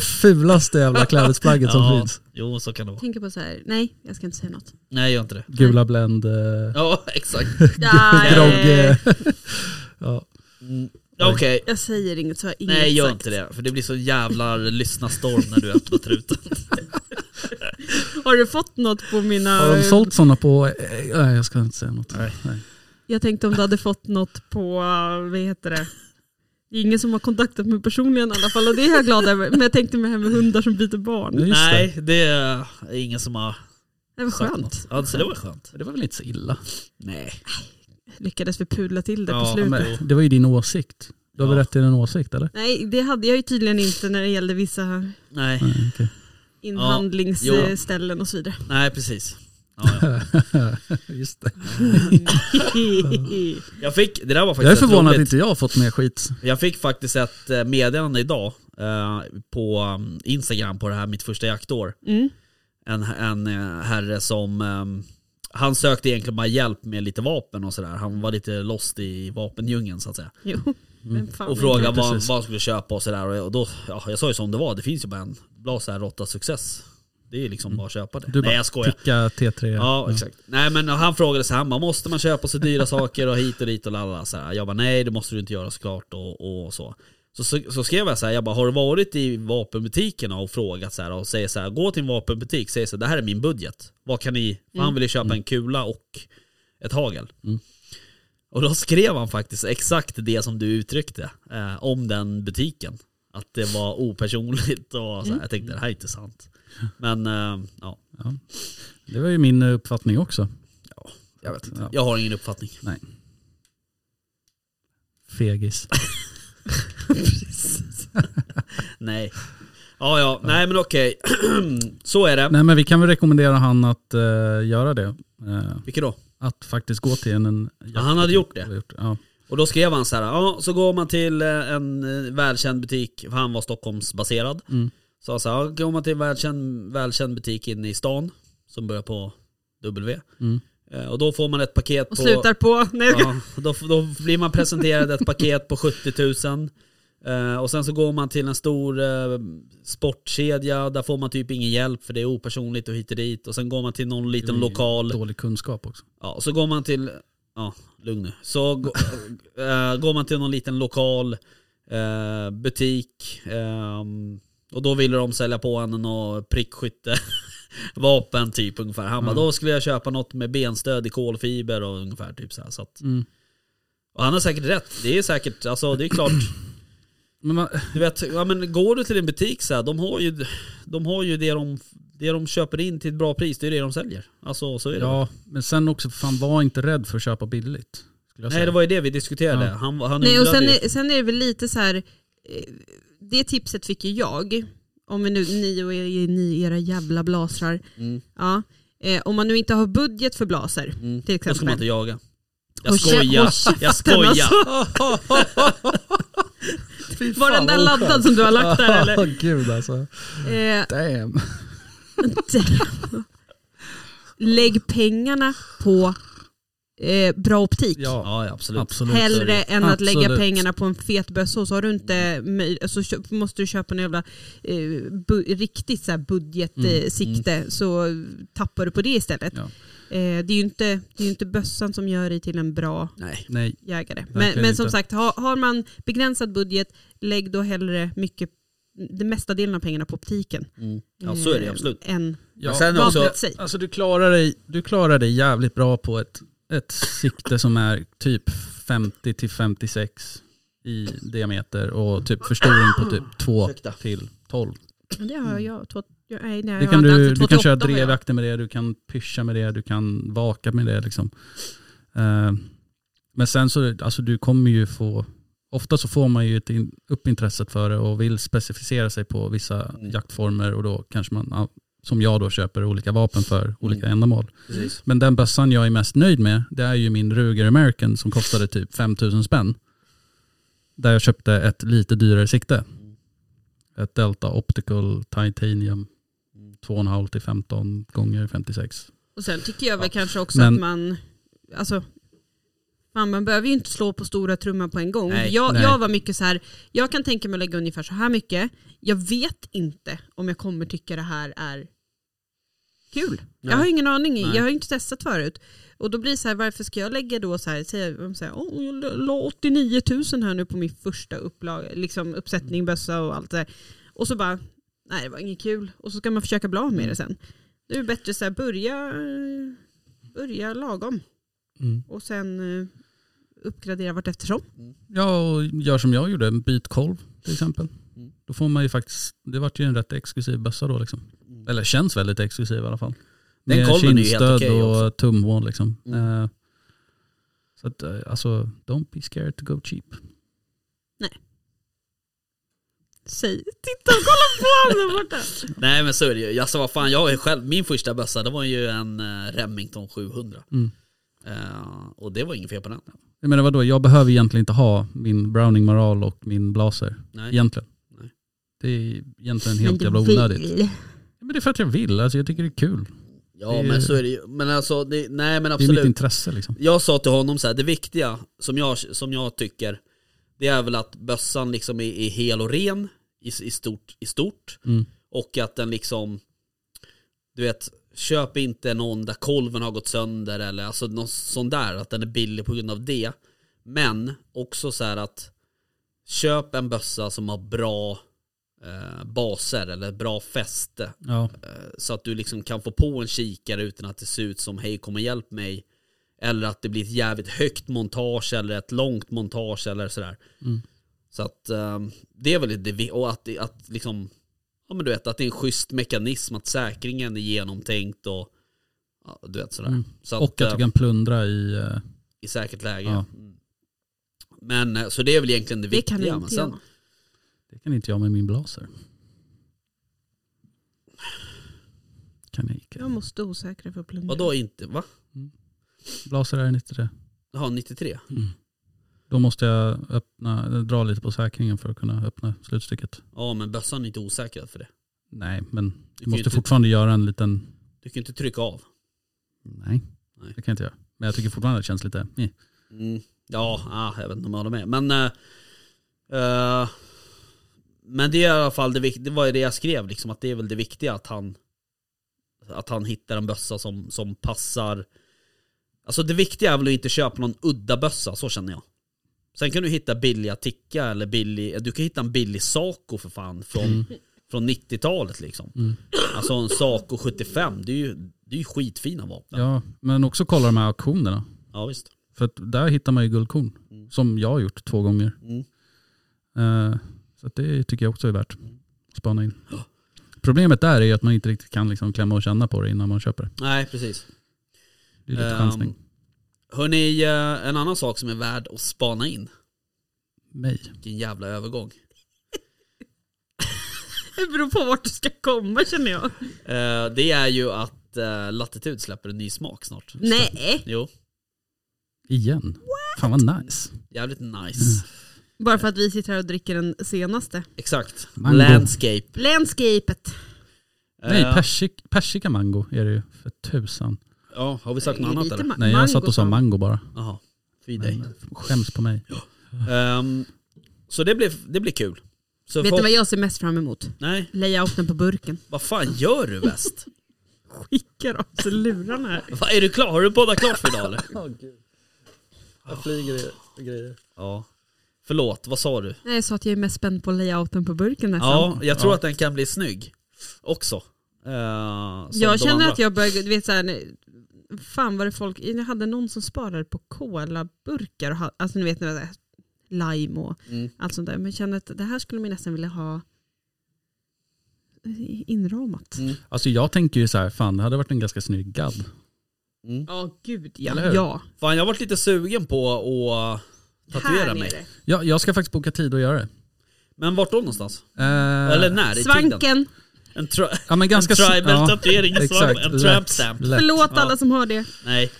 S4: fulaste jävla klädesplagget som
S3: Ja,
S4: finns.
S3: Jo, så kan det vara.
S5: tänker på så här. nej jag ska inte säga något.
S3: Nej, gör inte det.
S4: Gula Blend, eh,
S3: Ja, exakt.
S5: Nej,
S4: grogg. eh, ja.
S3: Mm. Okej.
S5: Jag säger inget så har jag inget
S3: Nej, gör
S5: sagt.
S3: inte det. För det blir så jävla lyssnarstorm när du öppnar truten.
S5: Har du fått något på mina...
S4: Har de sålt sådana på... eh, Nej, jag ska inte säga något.
S3: Nej.
S5: Jag tänkte om du hade fått något på, vad heter det? Det är ingen som har kontaktat mig personligen i alla fall och det är
S3: Mm.
S5: jag glad över. Men jag tänkte med det här med hundar som biter barn.
S4: Just det.
S3: Nej, det är ingen som har
S5: Det var
S3: sagt
S5: skönt.
S3: något. Ja, så det var skönt.
S4: Det var väl inte så illa?
S3: Nej.
S5: Lyckades vi pudla till det på
S3: Ja,
S5: slutet.
S3: men-
S4: Det var ju din åsikt. Du har väl
S3: Ja.
S4: rätt till din åsikt eller?
S5: Nej, det hade jag ju tydligen inte när det gällde vissa
S3: Nej,
S4: Nej, okej.
S3: Ja, jo.
S5: inhandlingsställen och så vidare.
S3: nej precis. Ja, ja.
S4: Just det.
S3: Jag fick, det där var
S4: Jag är
S3: faktiskt rätt
S4: förvånad att
S3: roligt.
S4: inte jag har fått mer skit.
S3: Jag fick faktiskt ett eh, meddelande idag eh, på um, Instagram på det här mitt första jaktår.
S5: Mm.
S3: En, en eh, herre som, ehm, han sökte egentligen bara hjälp med lite vapen och sådär. Han var lite lost i vapendjungeln så att säga.
S5: Jo, men fan.
S3: Mm. Och frågade
S4: Ja,
S3: vad,
S4: Mm, precis.
S3: vad han skulle köpa och sådär. Och jag- och då, ja, jag sa ju som det var, det finns ju bara en bra så här råtta success. Det är liksom bara att köpa det.
S4: Mm. Du
S3: Nej
S4: bara
S3: jag skojar.
S4: Ticka T3.
S3: Ja exakt. Nej men han frågade så här, han bara, måste man köpa så dyra saker och hit och dit och lalla. Så här, jag bara nej det måste du inte göra såklart och, och så. Så, så. Så skrev jag så här, jag bara har du varit i vapenbutikerna och frågat så här och säger så här, gå till en vapenbutik, säg så här, det här är min budget. Vad kan ni, för han ville ju köpa en kula och ett hagel. Och då skrev han faktiskt exakt det som du uttryckte eh, om den butiken. Att det var opersonligt och så här. jag tänkte det här är inte sant. Men eh, ja,
S4: Det var ju min eh, uppfattning också.
S3: jag vet inte.
S4: Ja.
S3: Jag har ingen uppfattning.
S4: Fegis.
S3: Nej. Ja, ja. Nej, men okej. Så är det.
S4: Nej men vi kan väl rekommendera han att eh, göra det. Eh,
S3: Vilket då?
S4: att faktiskt gå till en... en
S3: Ja, han hade gjort det.
S4: Ja. Ja.
S3: Och då skrev han så här. Ja, så går man till eh, en eh, välkänd butik. För han var Stockholmsbaserad.
S4: Mm.
S3: Så han sa, ja, går man till en välkänd, välkänd butik inne i stan. Som börjar på W.
S4: Mm.
S3: Eh, Och då får man ett paket
S5: Och
S3: på...
S5: slutar på... Nej,
S3: Ja, då, då blir man presenterad ett paket på 70 000. Eh, och sen så går man till en stor eh, sportkedja, där får man typ ingen hjälp för det är opersonligt och hit och dit. Och sen går man till någon liten
S4: Det är ju
S3: lokal.
S4: Dålig kunskap också.
S3: Ja, och så går man till, ja lugn nu. Så gå- eh, går man till någon liten lokal eh, butik ehm, och då ville de sälja på en och prickskytte vapen typ ungefär. Han bara, då skulle jag köpa något med benstöd i kolfiber och ungefär typ så här. Så att,
S4: Mm.
S3: Och han har säkert rätt. Det är säkert, alltså det är klart.
S4: Men man,
S3: Du vet, ja, men går du till en butik så här, de har ju, de har ju det, de, det de köper in till ett bra pris, det är det de säljer. Alltså så är det. väl.
S4: ja, men sen också, fan var inte rädd för att köpa billigt. skulle jag
S3: Nej
S4: säga.
S3: det var ju det vi diskuterade.
S4: Ja.
S3: Han, han
S5: Nej, och
S3: undrade
S5: sen
S3: ju.
S5: är, sen är det väl lite så här, eh, det tipset fick ju jag, om vi nu, ni och er, ni, era jävla blasrar.
S3: Mm.
S5: Ja, eh, om man nu inte har budget för blaser
S3: Mm. Då
S5: till
S3: ska man inte
S5: exempel.
S3: jaga. Jag
S5: Och kä-
S3: skojar.
S5: och käften,
S3: Jag skojar.
S4: Fy
S5: Var
S4: fan,
S5: den där
S4: vad
S5: laddad
S4: oskönt.
S5: som du har lagt där eller?
S4: Ja, gud alltså.
S5: Eh,
S4: Damn.
S5: damn. Lägg pengarna på eh, bra optik.
S4: Ja,
S3: Ja, ja, absolut.
S4: absolut.
S5: Hellre än att lägga
S4: Absolut.
S5: pengarna på en fet bössa och så har du inte möj- så kö- måste du köpa en jävla eh, bu- riktigt så här budgetsikte eh, sikte,
S3: Mm,
S5: så tappar du på det istället.
S4: Ja.
S5: Eh, det är ju inte, det är ju inte bössan som gör dig till en bra
S3: Nej.
S4: Nej,
S5: jägare. Men,
S4: Verkligen
S5: men som
S4: inte.
S5: sagt, ha, har man begränsad budget, lägg då hellre mycket, den mesta delen av pengarna på optiken.
S3: Mm. Ja, så är det
S5: eh,
S3: absolut.
S5: Än
S4: Ja,
S3: Men sen
S4: men
S3: också-
S4: alltså,
S5: vapnet sig.
S4: alltså du klarar dig, du klarar dig jävligt bra på ett, ett sikte som är typ 50 till 56 i diameter och typ förstoring på typ 2
S3: Ursäkta.
S4: till 12.
S5: Det har jag. Två, jag nej, nej,
S4: Det
S5: jag
S4: kan
S5: har inte
S4: du,
S5: haft
S4: du kan köra
S5: 288 har jag.
S4: drevjakter med det, du kan pyscha med det, du kan vaka med det liksom. Eh, men sen så, alltså du kommer ju få, ofta så får man ju ett in, upp intresset för det och vill specificera sig på vissa
S3: Mm.
S4: jaktformer och då kanske man, ja, som jag då, köper olika vapen för olika ändamål.
S3: Precis.
S4: Men den bössan jag är mest nöjd med, det är ju min Ruger American som kostade typ 5000 spänn. Där jag köpte ett lite dyrare sikte. Ett Delta Optical Titanium 2,5 till 15 gånger 56.
S5: Och sen tycker jag väl
S4: Ja.
S5: kanske också
S4: Men-
S5: att man, alltså, man, man behöver ju inte slå på stora trumman på en gång.
S3: Nej,
S5: jag,
S4: nej.
S5: jag var mycket så här, jag kan tänka mig att lägga ungefär så här mycket. Jag vet inte om jag kommer tycka det här är kul. Jag har ingen aning,
S3: Nej.
S5: jag har ju inte testat förut. Och då blir det så här, varför ska jag lägga då så här, säga, om så här oh, jag la 89 000 här nu på min första upplag, liksom
S3: Mm.
S5: uppsättning, bössa och allt det där. Och så bara, nej det var inget kul. Och så ska man försöka bli av
S3: Mm.
S5: med det sen. Det är det bättre så här, börja, börja lagom
S4: Mm.
S5: och sen eh, uppgradera vart eftersom.
S4: Ja, och gör som jag gjorde, byt kolv till exempel.
S3: Mm.
S4: Då får man ju faktiskt, det vart ju en rätt exklusiv bössa då liksom. Eller känns väldigt exklusiv i alla fall.
S3: Mm. Den
S4: med
S3: kolven är ju helt
S4: kindstöd
S3: okej
S4: och tumhål liksom.
S3: Mm.
S4: Eh, så att, eh, alltså, don't be scared to go cheap.
S5: Säg, titta, kolla på honom där borta.
S3: Nej men så är det ju. Alltså, vad fan, jag har ju själv, min första bössa det var ju en eh, Remington 700.
S4: Mm.
S3: Eh, och det var inget fel på den.
S4: Jag menar vadå, jag behöver egentligen inte ha min Browning Moral och min Blaser.
S3: Nej.
S4: Egentligen.
S3: Nej.
S4: Det är egentligen
S5: Men
S4: helt
S5: du
S4: jävla onödigt.
S5: vill.
S4: Men det är för att jag vill, alltså jag tycker det är kul.
S3: Ja men så är det ju. Men alltså, det, nej men
S4: Det är mitt
S3: absolut.
S4: intresse liksom.
S3: Jag sa till honom så här, det viktiga som jag, som jag tycker, det är väl att bössan liksom är, är hel och ren i, i, stort, i stort.
S4: Mm.
S3: Och att den liksom, du vet, köp inte någon där kolven har gått sönder eller alltså någon sån där, att den är billig på grund av det. Men också så här att köp en bössa som har bra eh, baser eller bra fäste.
S4: Ja.
S3: Eh, Så att du liksom kan få på en kikare utan att det ser ut som hej kom och hjälp mig. Eller att det blir ett jävligt högt montage eller ett långt montage eller sådär.
S4: Mm.
S3: Så att ehm, det är väl det, vi- och att, det- att liksom, ja men du vet att det är en schysst mekanism att säkringen är genomtänkt och ja, du vet sådär.
S4: Mm.
S3: Så
S4: Och att
S3: eh,
S4: du kan plundra i... eh,
S3: i säkert läge.
S4: Ja.
S3: Mm. Men eh, så det är väl egentligen det
S5: Det kan
S3: viktiga. men
S5: inte
S3: sen,
S5: jag.
S4: Det kan inte jag med min blaser. Kan jag
S5: Jag
S4: inte.
S5: måste osäkra för att plundra.
S3: vadå inte, va?
S4: Blaser är inte det.
S3: Jaha 93?
S4: Då måste jag öppna, dra lite på säkringen för att kunna öppna slutstycket.
S3: Ja men bössan är inte osäker för det.
S4: Nej, men
S3: Du
S4: du
S3: kan, ju
S4: måste
S3: inte,
S4: fortfarande göra en liten...
S3: du kan ju inte trycka av.
S4: Nej,
S3: Nej.
S4: det kan jag inte göra. Men jag tycker fortfarande att det känns lite... eh.
S3: Mm. Ja, ah, jag vet inte om jag håller med. Men, eh, eh, men det är i alla fall det, vik- det var ju det jag skrev, liksom, att det är väl det viktiga att han, att han hittar en bössa som, som passar. Alltså det viktiga är väl att inte köpa någon udda bössa, så känner jag. Sen kan du hitta billiga Ticka eller billig, du kan hitta en billig Saco för fan från, från 90-talet liksom.
S4: Mm.
S3: Alltså en Saco 75, det är ju, det är ju skitfina vapen. Ja,
S4: Ja, men också kolla de här auktionerna.
S3: visst.
S4: För att där hittar man ju guldkorn.
S3: Mm.
S4: Som jag har gjort två gånger.
S3: Mm.
S4: Eh, Så att det tycker jag också är värt
S3: Mm.
S4: att spana in. Problemet där är ju att man inte riktigt kan liksom klämma och känna på det innan man köper det.
S3: Nej, precis.
S4: Det är lite
S3: Ehm,
S4: chansning.
S3: Hörni, eh, en annan sak som är värd att spana in.
S4: Mig.
S3: Vilken jävla övergång.
S5: Det beror på vart du ska komma känner jag.
S3: Eh, Det är ju att eh, Latitude släpper en ny smak snart.
S5: Nej,
S3: Jo,
S4: Igen. Fan vad nice.
S3: jävligt nice.
S6: Mm.
S5: bara för att vi sitter här och dricker den senaste.
S3: Exakt.
S4: Mango.
S3: Landscape.
S5: Landscapet.
S4: Nej,
S3: Eh,
S4: persik, persika mango är det ju. För tusan.
S3: Ja, har vi sagt något annat
S5: Lite
S3: eller?
S5: ma-
S4: Nej, jag
S5: mango
S4: satt och sa
S5: fan.
S4: mango bara.
S3: Jaha, fy dig.
S4: Men, skäms på mig.
S3: Ehm, Så det blir, det blir kul. Så
S5: Vet
S3: folk-
S5: du vad jag ser mest fram emot?
S3: Nej,
S5: Layouten på burken.
S3: vad fan gör du väst?
S5: Skickar av sig lurarna här.
S3: Va, är du klar? Har du poddat klart för idag eller?
S6: Jag flyger i grejer.
S3: Ja. Förlåt, vad sa du?
S5: Nej, jag sa att jag är mest spänd på layouten på burken nästan.
S3: Ja, jag tror att den kan bli snygg också. Eh, som
S5: jag
S3: de
S5: känner
S3: andra.
S5: att jag börjar, du vet såhär, nej, fan var det folk, jag hade någon som sparade på colaburkar och ha, alltså ni vet, när det är lime och
S3: Mm.
S5: allt sånt där. Men jag känner att det här skulle man nästan vilja ha inramat.
S3: Mm.
S4: Alltså jag tänker ju så här, fan det hade varit en ganska snygg gadd.
S3: Mm.
S5: Ja, gud ja.
S4: Eller hur?
S5: ja.
S3: Fan jag har varit lite sugen på att tatuera
S5: Här
S3: mig.
S5: nere.
S4: Ja, jag ska faktiskt boka tid och göra det.
S3: Men vart då någonstans?
S4: Eh,
S3: Eller när? I tiden?
S5: Svanken,
S3: En, tra-
S4: ja, men
S3: en
S4: ganska s-
S3: tribal
S4: ja,
S3: tatuering i svanken.
S4: exakt,
S3: En
S4: lätt,
S3: tramp stamp.
S4: lätt.
S5: förlåt
S3: Ja.
S5: alla som har det.
S3: Nej,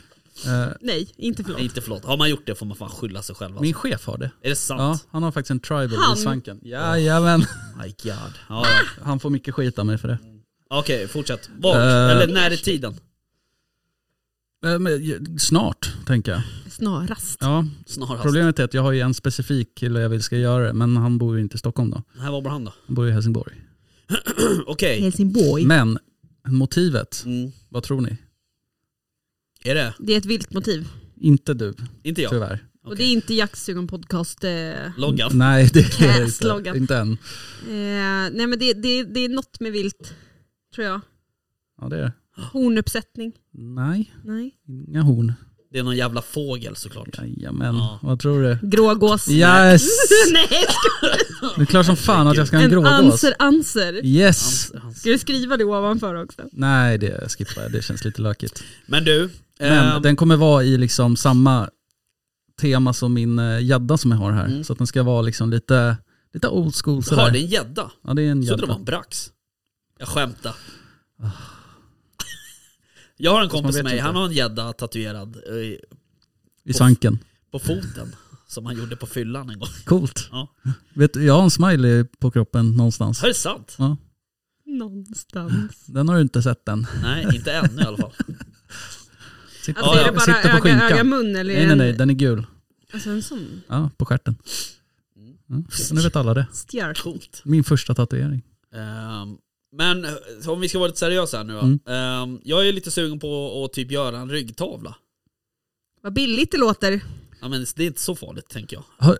S4: Eh,
S5: Nej, inte
S3: det
S5: förlåt.
S3: är inte förlåt. Har man gjort det får man fan skylla sig själv alltså.
S4: Min chef har det.
S3: Är det
S4: Ja,
S3: sant?
S4: han har faktiskt en tribal
S5: Han?
S4: i svanken. Jajamän.
S3: My god. Ja, ja.
S4: Han får mycket skit av mig för det.
S5: Ah!
S3: Okej, fortsätt. Vart?
S4: Eh.
S3: Eller när i tiden?
S4: Eh, Men, ju- snart, tänker jag.
S5: Snarast.
S4: Ja,
S3: Snarast.
S4: problemet är att jag har ju en specifik kille jag vill ska göra det, men han bor ju inte i Stockholm då.
S3: Här var bara han då.
S4: Han bor i Helsingborg.
S3: Okej.
S5: Helsingborg.
S4: Men motivet,
S3: Mm.
S4: vad tror ni?
S3: Är det?
S5: Det är ett vilt motiv.
S4: Inte du,
S3: Inte jag.
S4: tyvärr.
S5: Och det är inte jaktsugen podcast. Eh,
S3: Loggan.
S4: Nej, det är
S5: Yes,
S4: det
S5: loggan.
S4: inte. Inte än.
S5: Eh, nej men det, det, det är något med vilt, tror jag.
S4: Ja, det är det.
S5: Hornuppsättning.
S4: Nej,
S5: Nej.
S4: inga horn.
S3: Det är någon jävla fågel såklart.
S4: Jajamän,
S3: Ja.
S4: vad tror du?
S5: Grågås.
S4: Yes!
S5: Nej,
S4: Det är klart som fan att jag ska ha en
S5: en
S4: grågås.
S5: anser anser.
S4: Yes!
S5: Ska du skriva det ovanför också?
S4: Nej, det skippar jag. Det känns lite lökigt.
S3: Men du,
S4: Men
S3: ehm,
S4: den kommer vara i liksom samma tema som min eh, gädda som jag har här. Så att den ska vara liksom lite, lite old school
S3: har Mm. det
S4: sådär.
S3: en gädda?
S4: Ja, det är en
S3: Jag trodde det var
S4: gädda.
S3: en brax. Jag skämtar. Jag har en kompis
S4: vet
S3: med mig,
S4: inte.
S3: han har en gädda tatuerad eh,
S4: I svanken.
S3: på foten. Som han gjorde på fyllan en gång.
S4: Coolt.
S3: Ja.
S4: Vet du, jag har en smiley på kroppen någonstans.
S3: Är det sant?
S4: Ja,
S5: Någonstans.
S4: den har du inte sett än.
S3: Nej, inte ännu i alla fall.
S4: Sitter,
S5: Alltså
S3: Ja,
S5: är det
S3: ja.
S5: bara
S4: sitter på
S5: öga,
S4: skinkan.
S5: öga, mun eller?
S4: nej, nej, nej, den är gul.
S5: Alltså en sån
S4: Ja, på stjärten.
S3: Mm.
S4: Ja, så nu vet alla det.
S5: stjärt.
S3: Coolt.
S4: Min första tatuering.
S3: Ehm, men eh, om vi ska vara lite seriösa här nu då.
S4: Mm.
S3: Ehm, jag är lite sugen på att typ göra en ryggtavla.
S5: Vad billigt det låter.
S3: Ja, men det är inte så farligt tänker jag.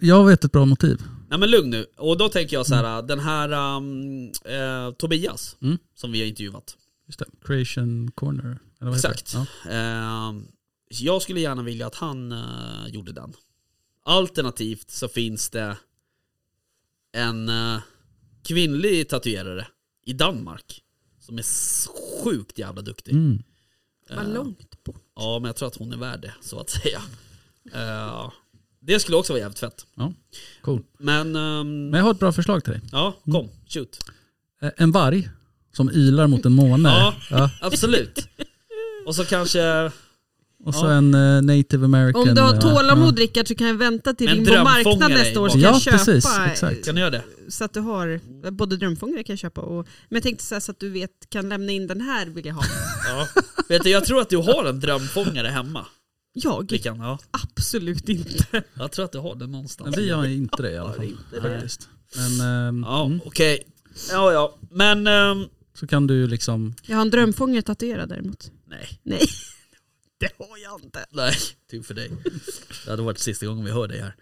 S4: Jag vet ett bra motiv.
S3: Nej men lugn nu. Och då tänker jag så här, den här ehm, eh, Tobias
S4: Mm.
S3: som vi har intervjuat.
S4: Just det. Creation corner. Eller vad heter
S3: Exakt.
S4: det? Ja.
S3: Ehm, jag skulle gärna vilja att han eh, gjorde den. Alternativt så finns det en eh, kvinnlig tatuerare i Danmark som är s- sjukt jävla duktig.
S4: Mm.
S5: Vad
S3: Eh,
S5: långt bort.
S3: Ja, men jag tror att hon är värd det, så att säga. Eh, det skulle också vara jävligt fett.
S4: Ja, cool.
S3: Men, ehm,
S4: Men jag har ett bra förslag till dig.
S3: ja, kom, shoot.
S4: Eh, En varg som ylar mot en måne.
S3: Ja.
S4: Ja.
S3: Absolut. Och så kanske,
S4: Och så
S3: Ja.
S4: en eh, native american.
S5: Om du har
S4: eh,
S5: tålamod Rickard så kan jag vänta till
S3: Men
S5: din på marknad
S3: drömfångare
S5: nästa år. Så
S4: Ja,
S5: kan
S4: ja
S5: jag köpa
S4: precis. Exakt.
S3: kan du göra det?
S5: så att du har, både drömfångare kan jag köpa och, men jag tänkte så, här, så att du vet, kan lämna in den här vill jag ha.
S3: Ja. Vet du, jag tror att du har en drömfångare hemma.
S5: Jag?
S3: Vickan, ja.
S5: Absolut inte.
S3: Jag tror att du har det
S4: Men
S3: någonstans.
S4: vi har inte det i alla fall. Faktiskt. Men ehm,
S3: Ja,
S4: mm,
S3: okej. Ja, ja. Men, ehm,
S4: så kan du liksom...
S5: Jag har en drömfångare tatuerad däremot.
S3: nej.
S5: Nej, det har jag inte.
S3: Nej, tur för dig. Det hade varit sista gången vi hör dig här.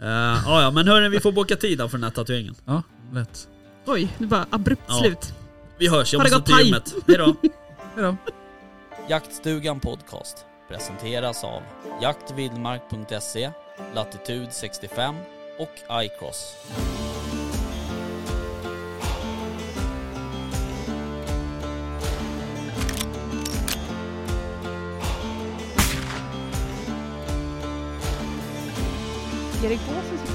S3: Eh, ja, ja, men hörni, vi får boka tid då för den här tatueringen.
S4: Ja, lätt.
S5: Oj, det var abrupt
S3: Ja.
S5: slut.
S3: Vi hörs, jag
S5: Ha det
S3: måste
S5: gott,
S3: till
S5: hej.
S3: gymmet. Hejdå.
S4: Hejdå.
S7: Jaktstugan Podcast presenteras av jaktvildmark.se, Latitude 65 och iCross.
S5: Erik Åsen som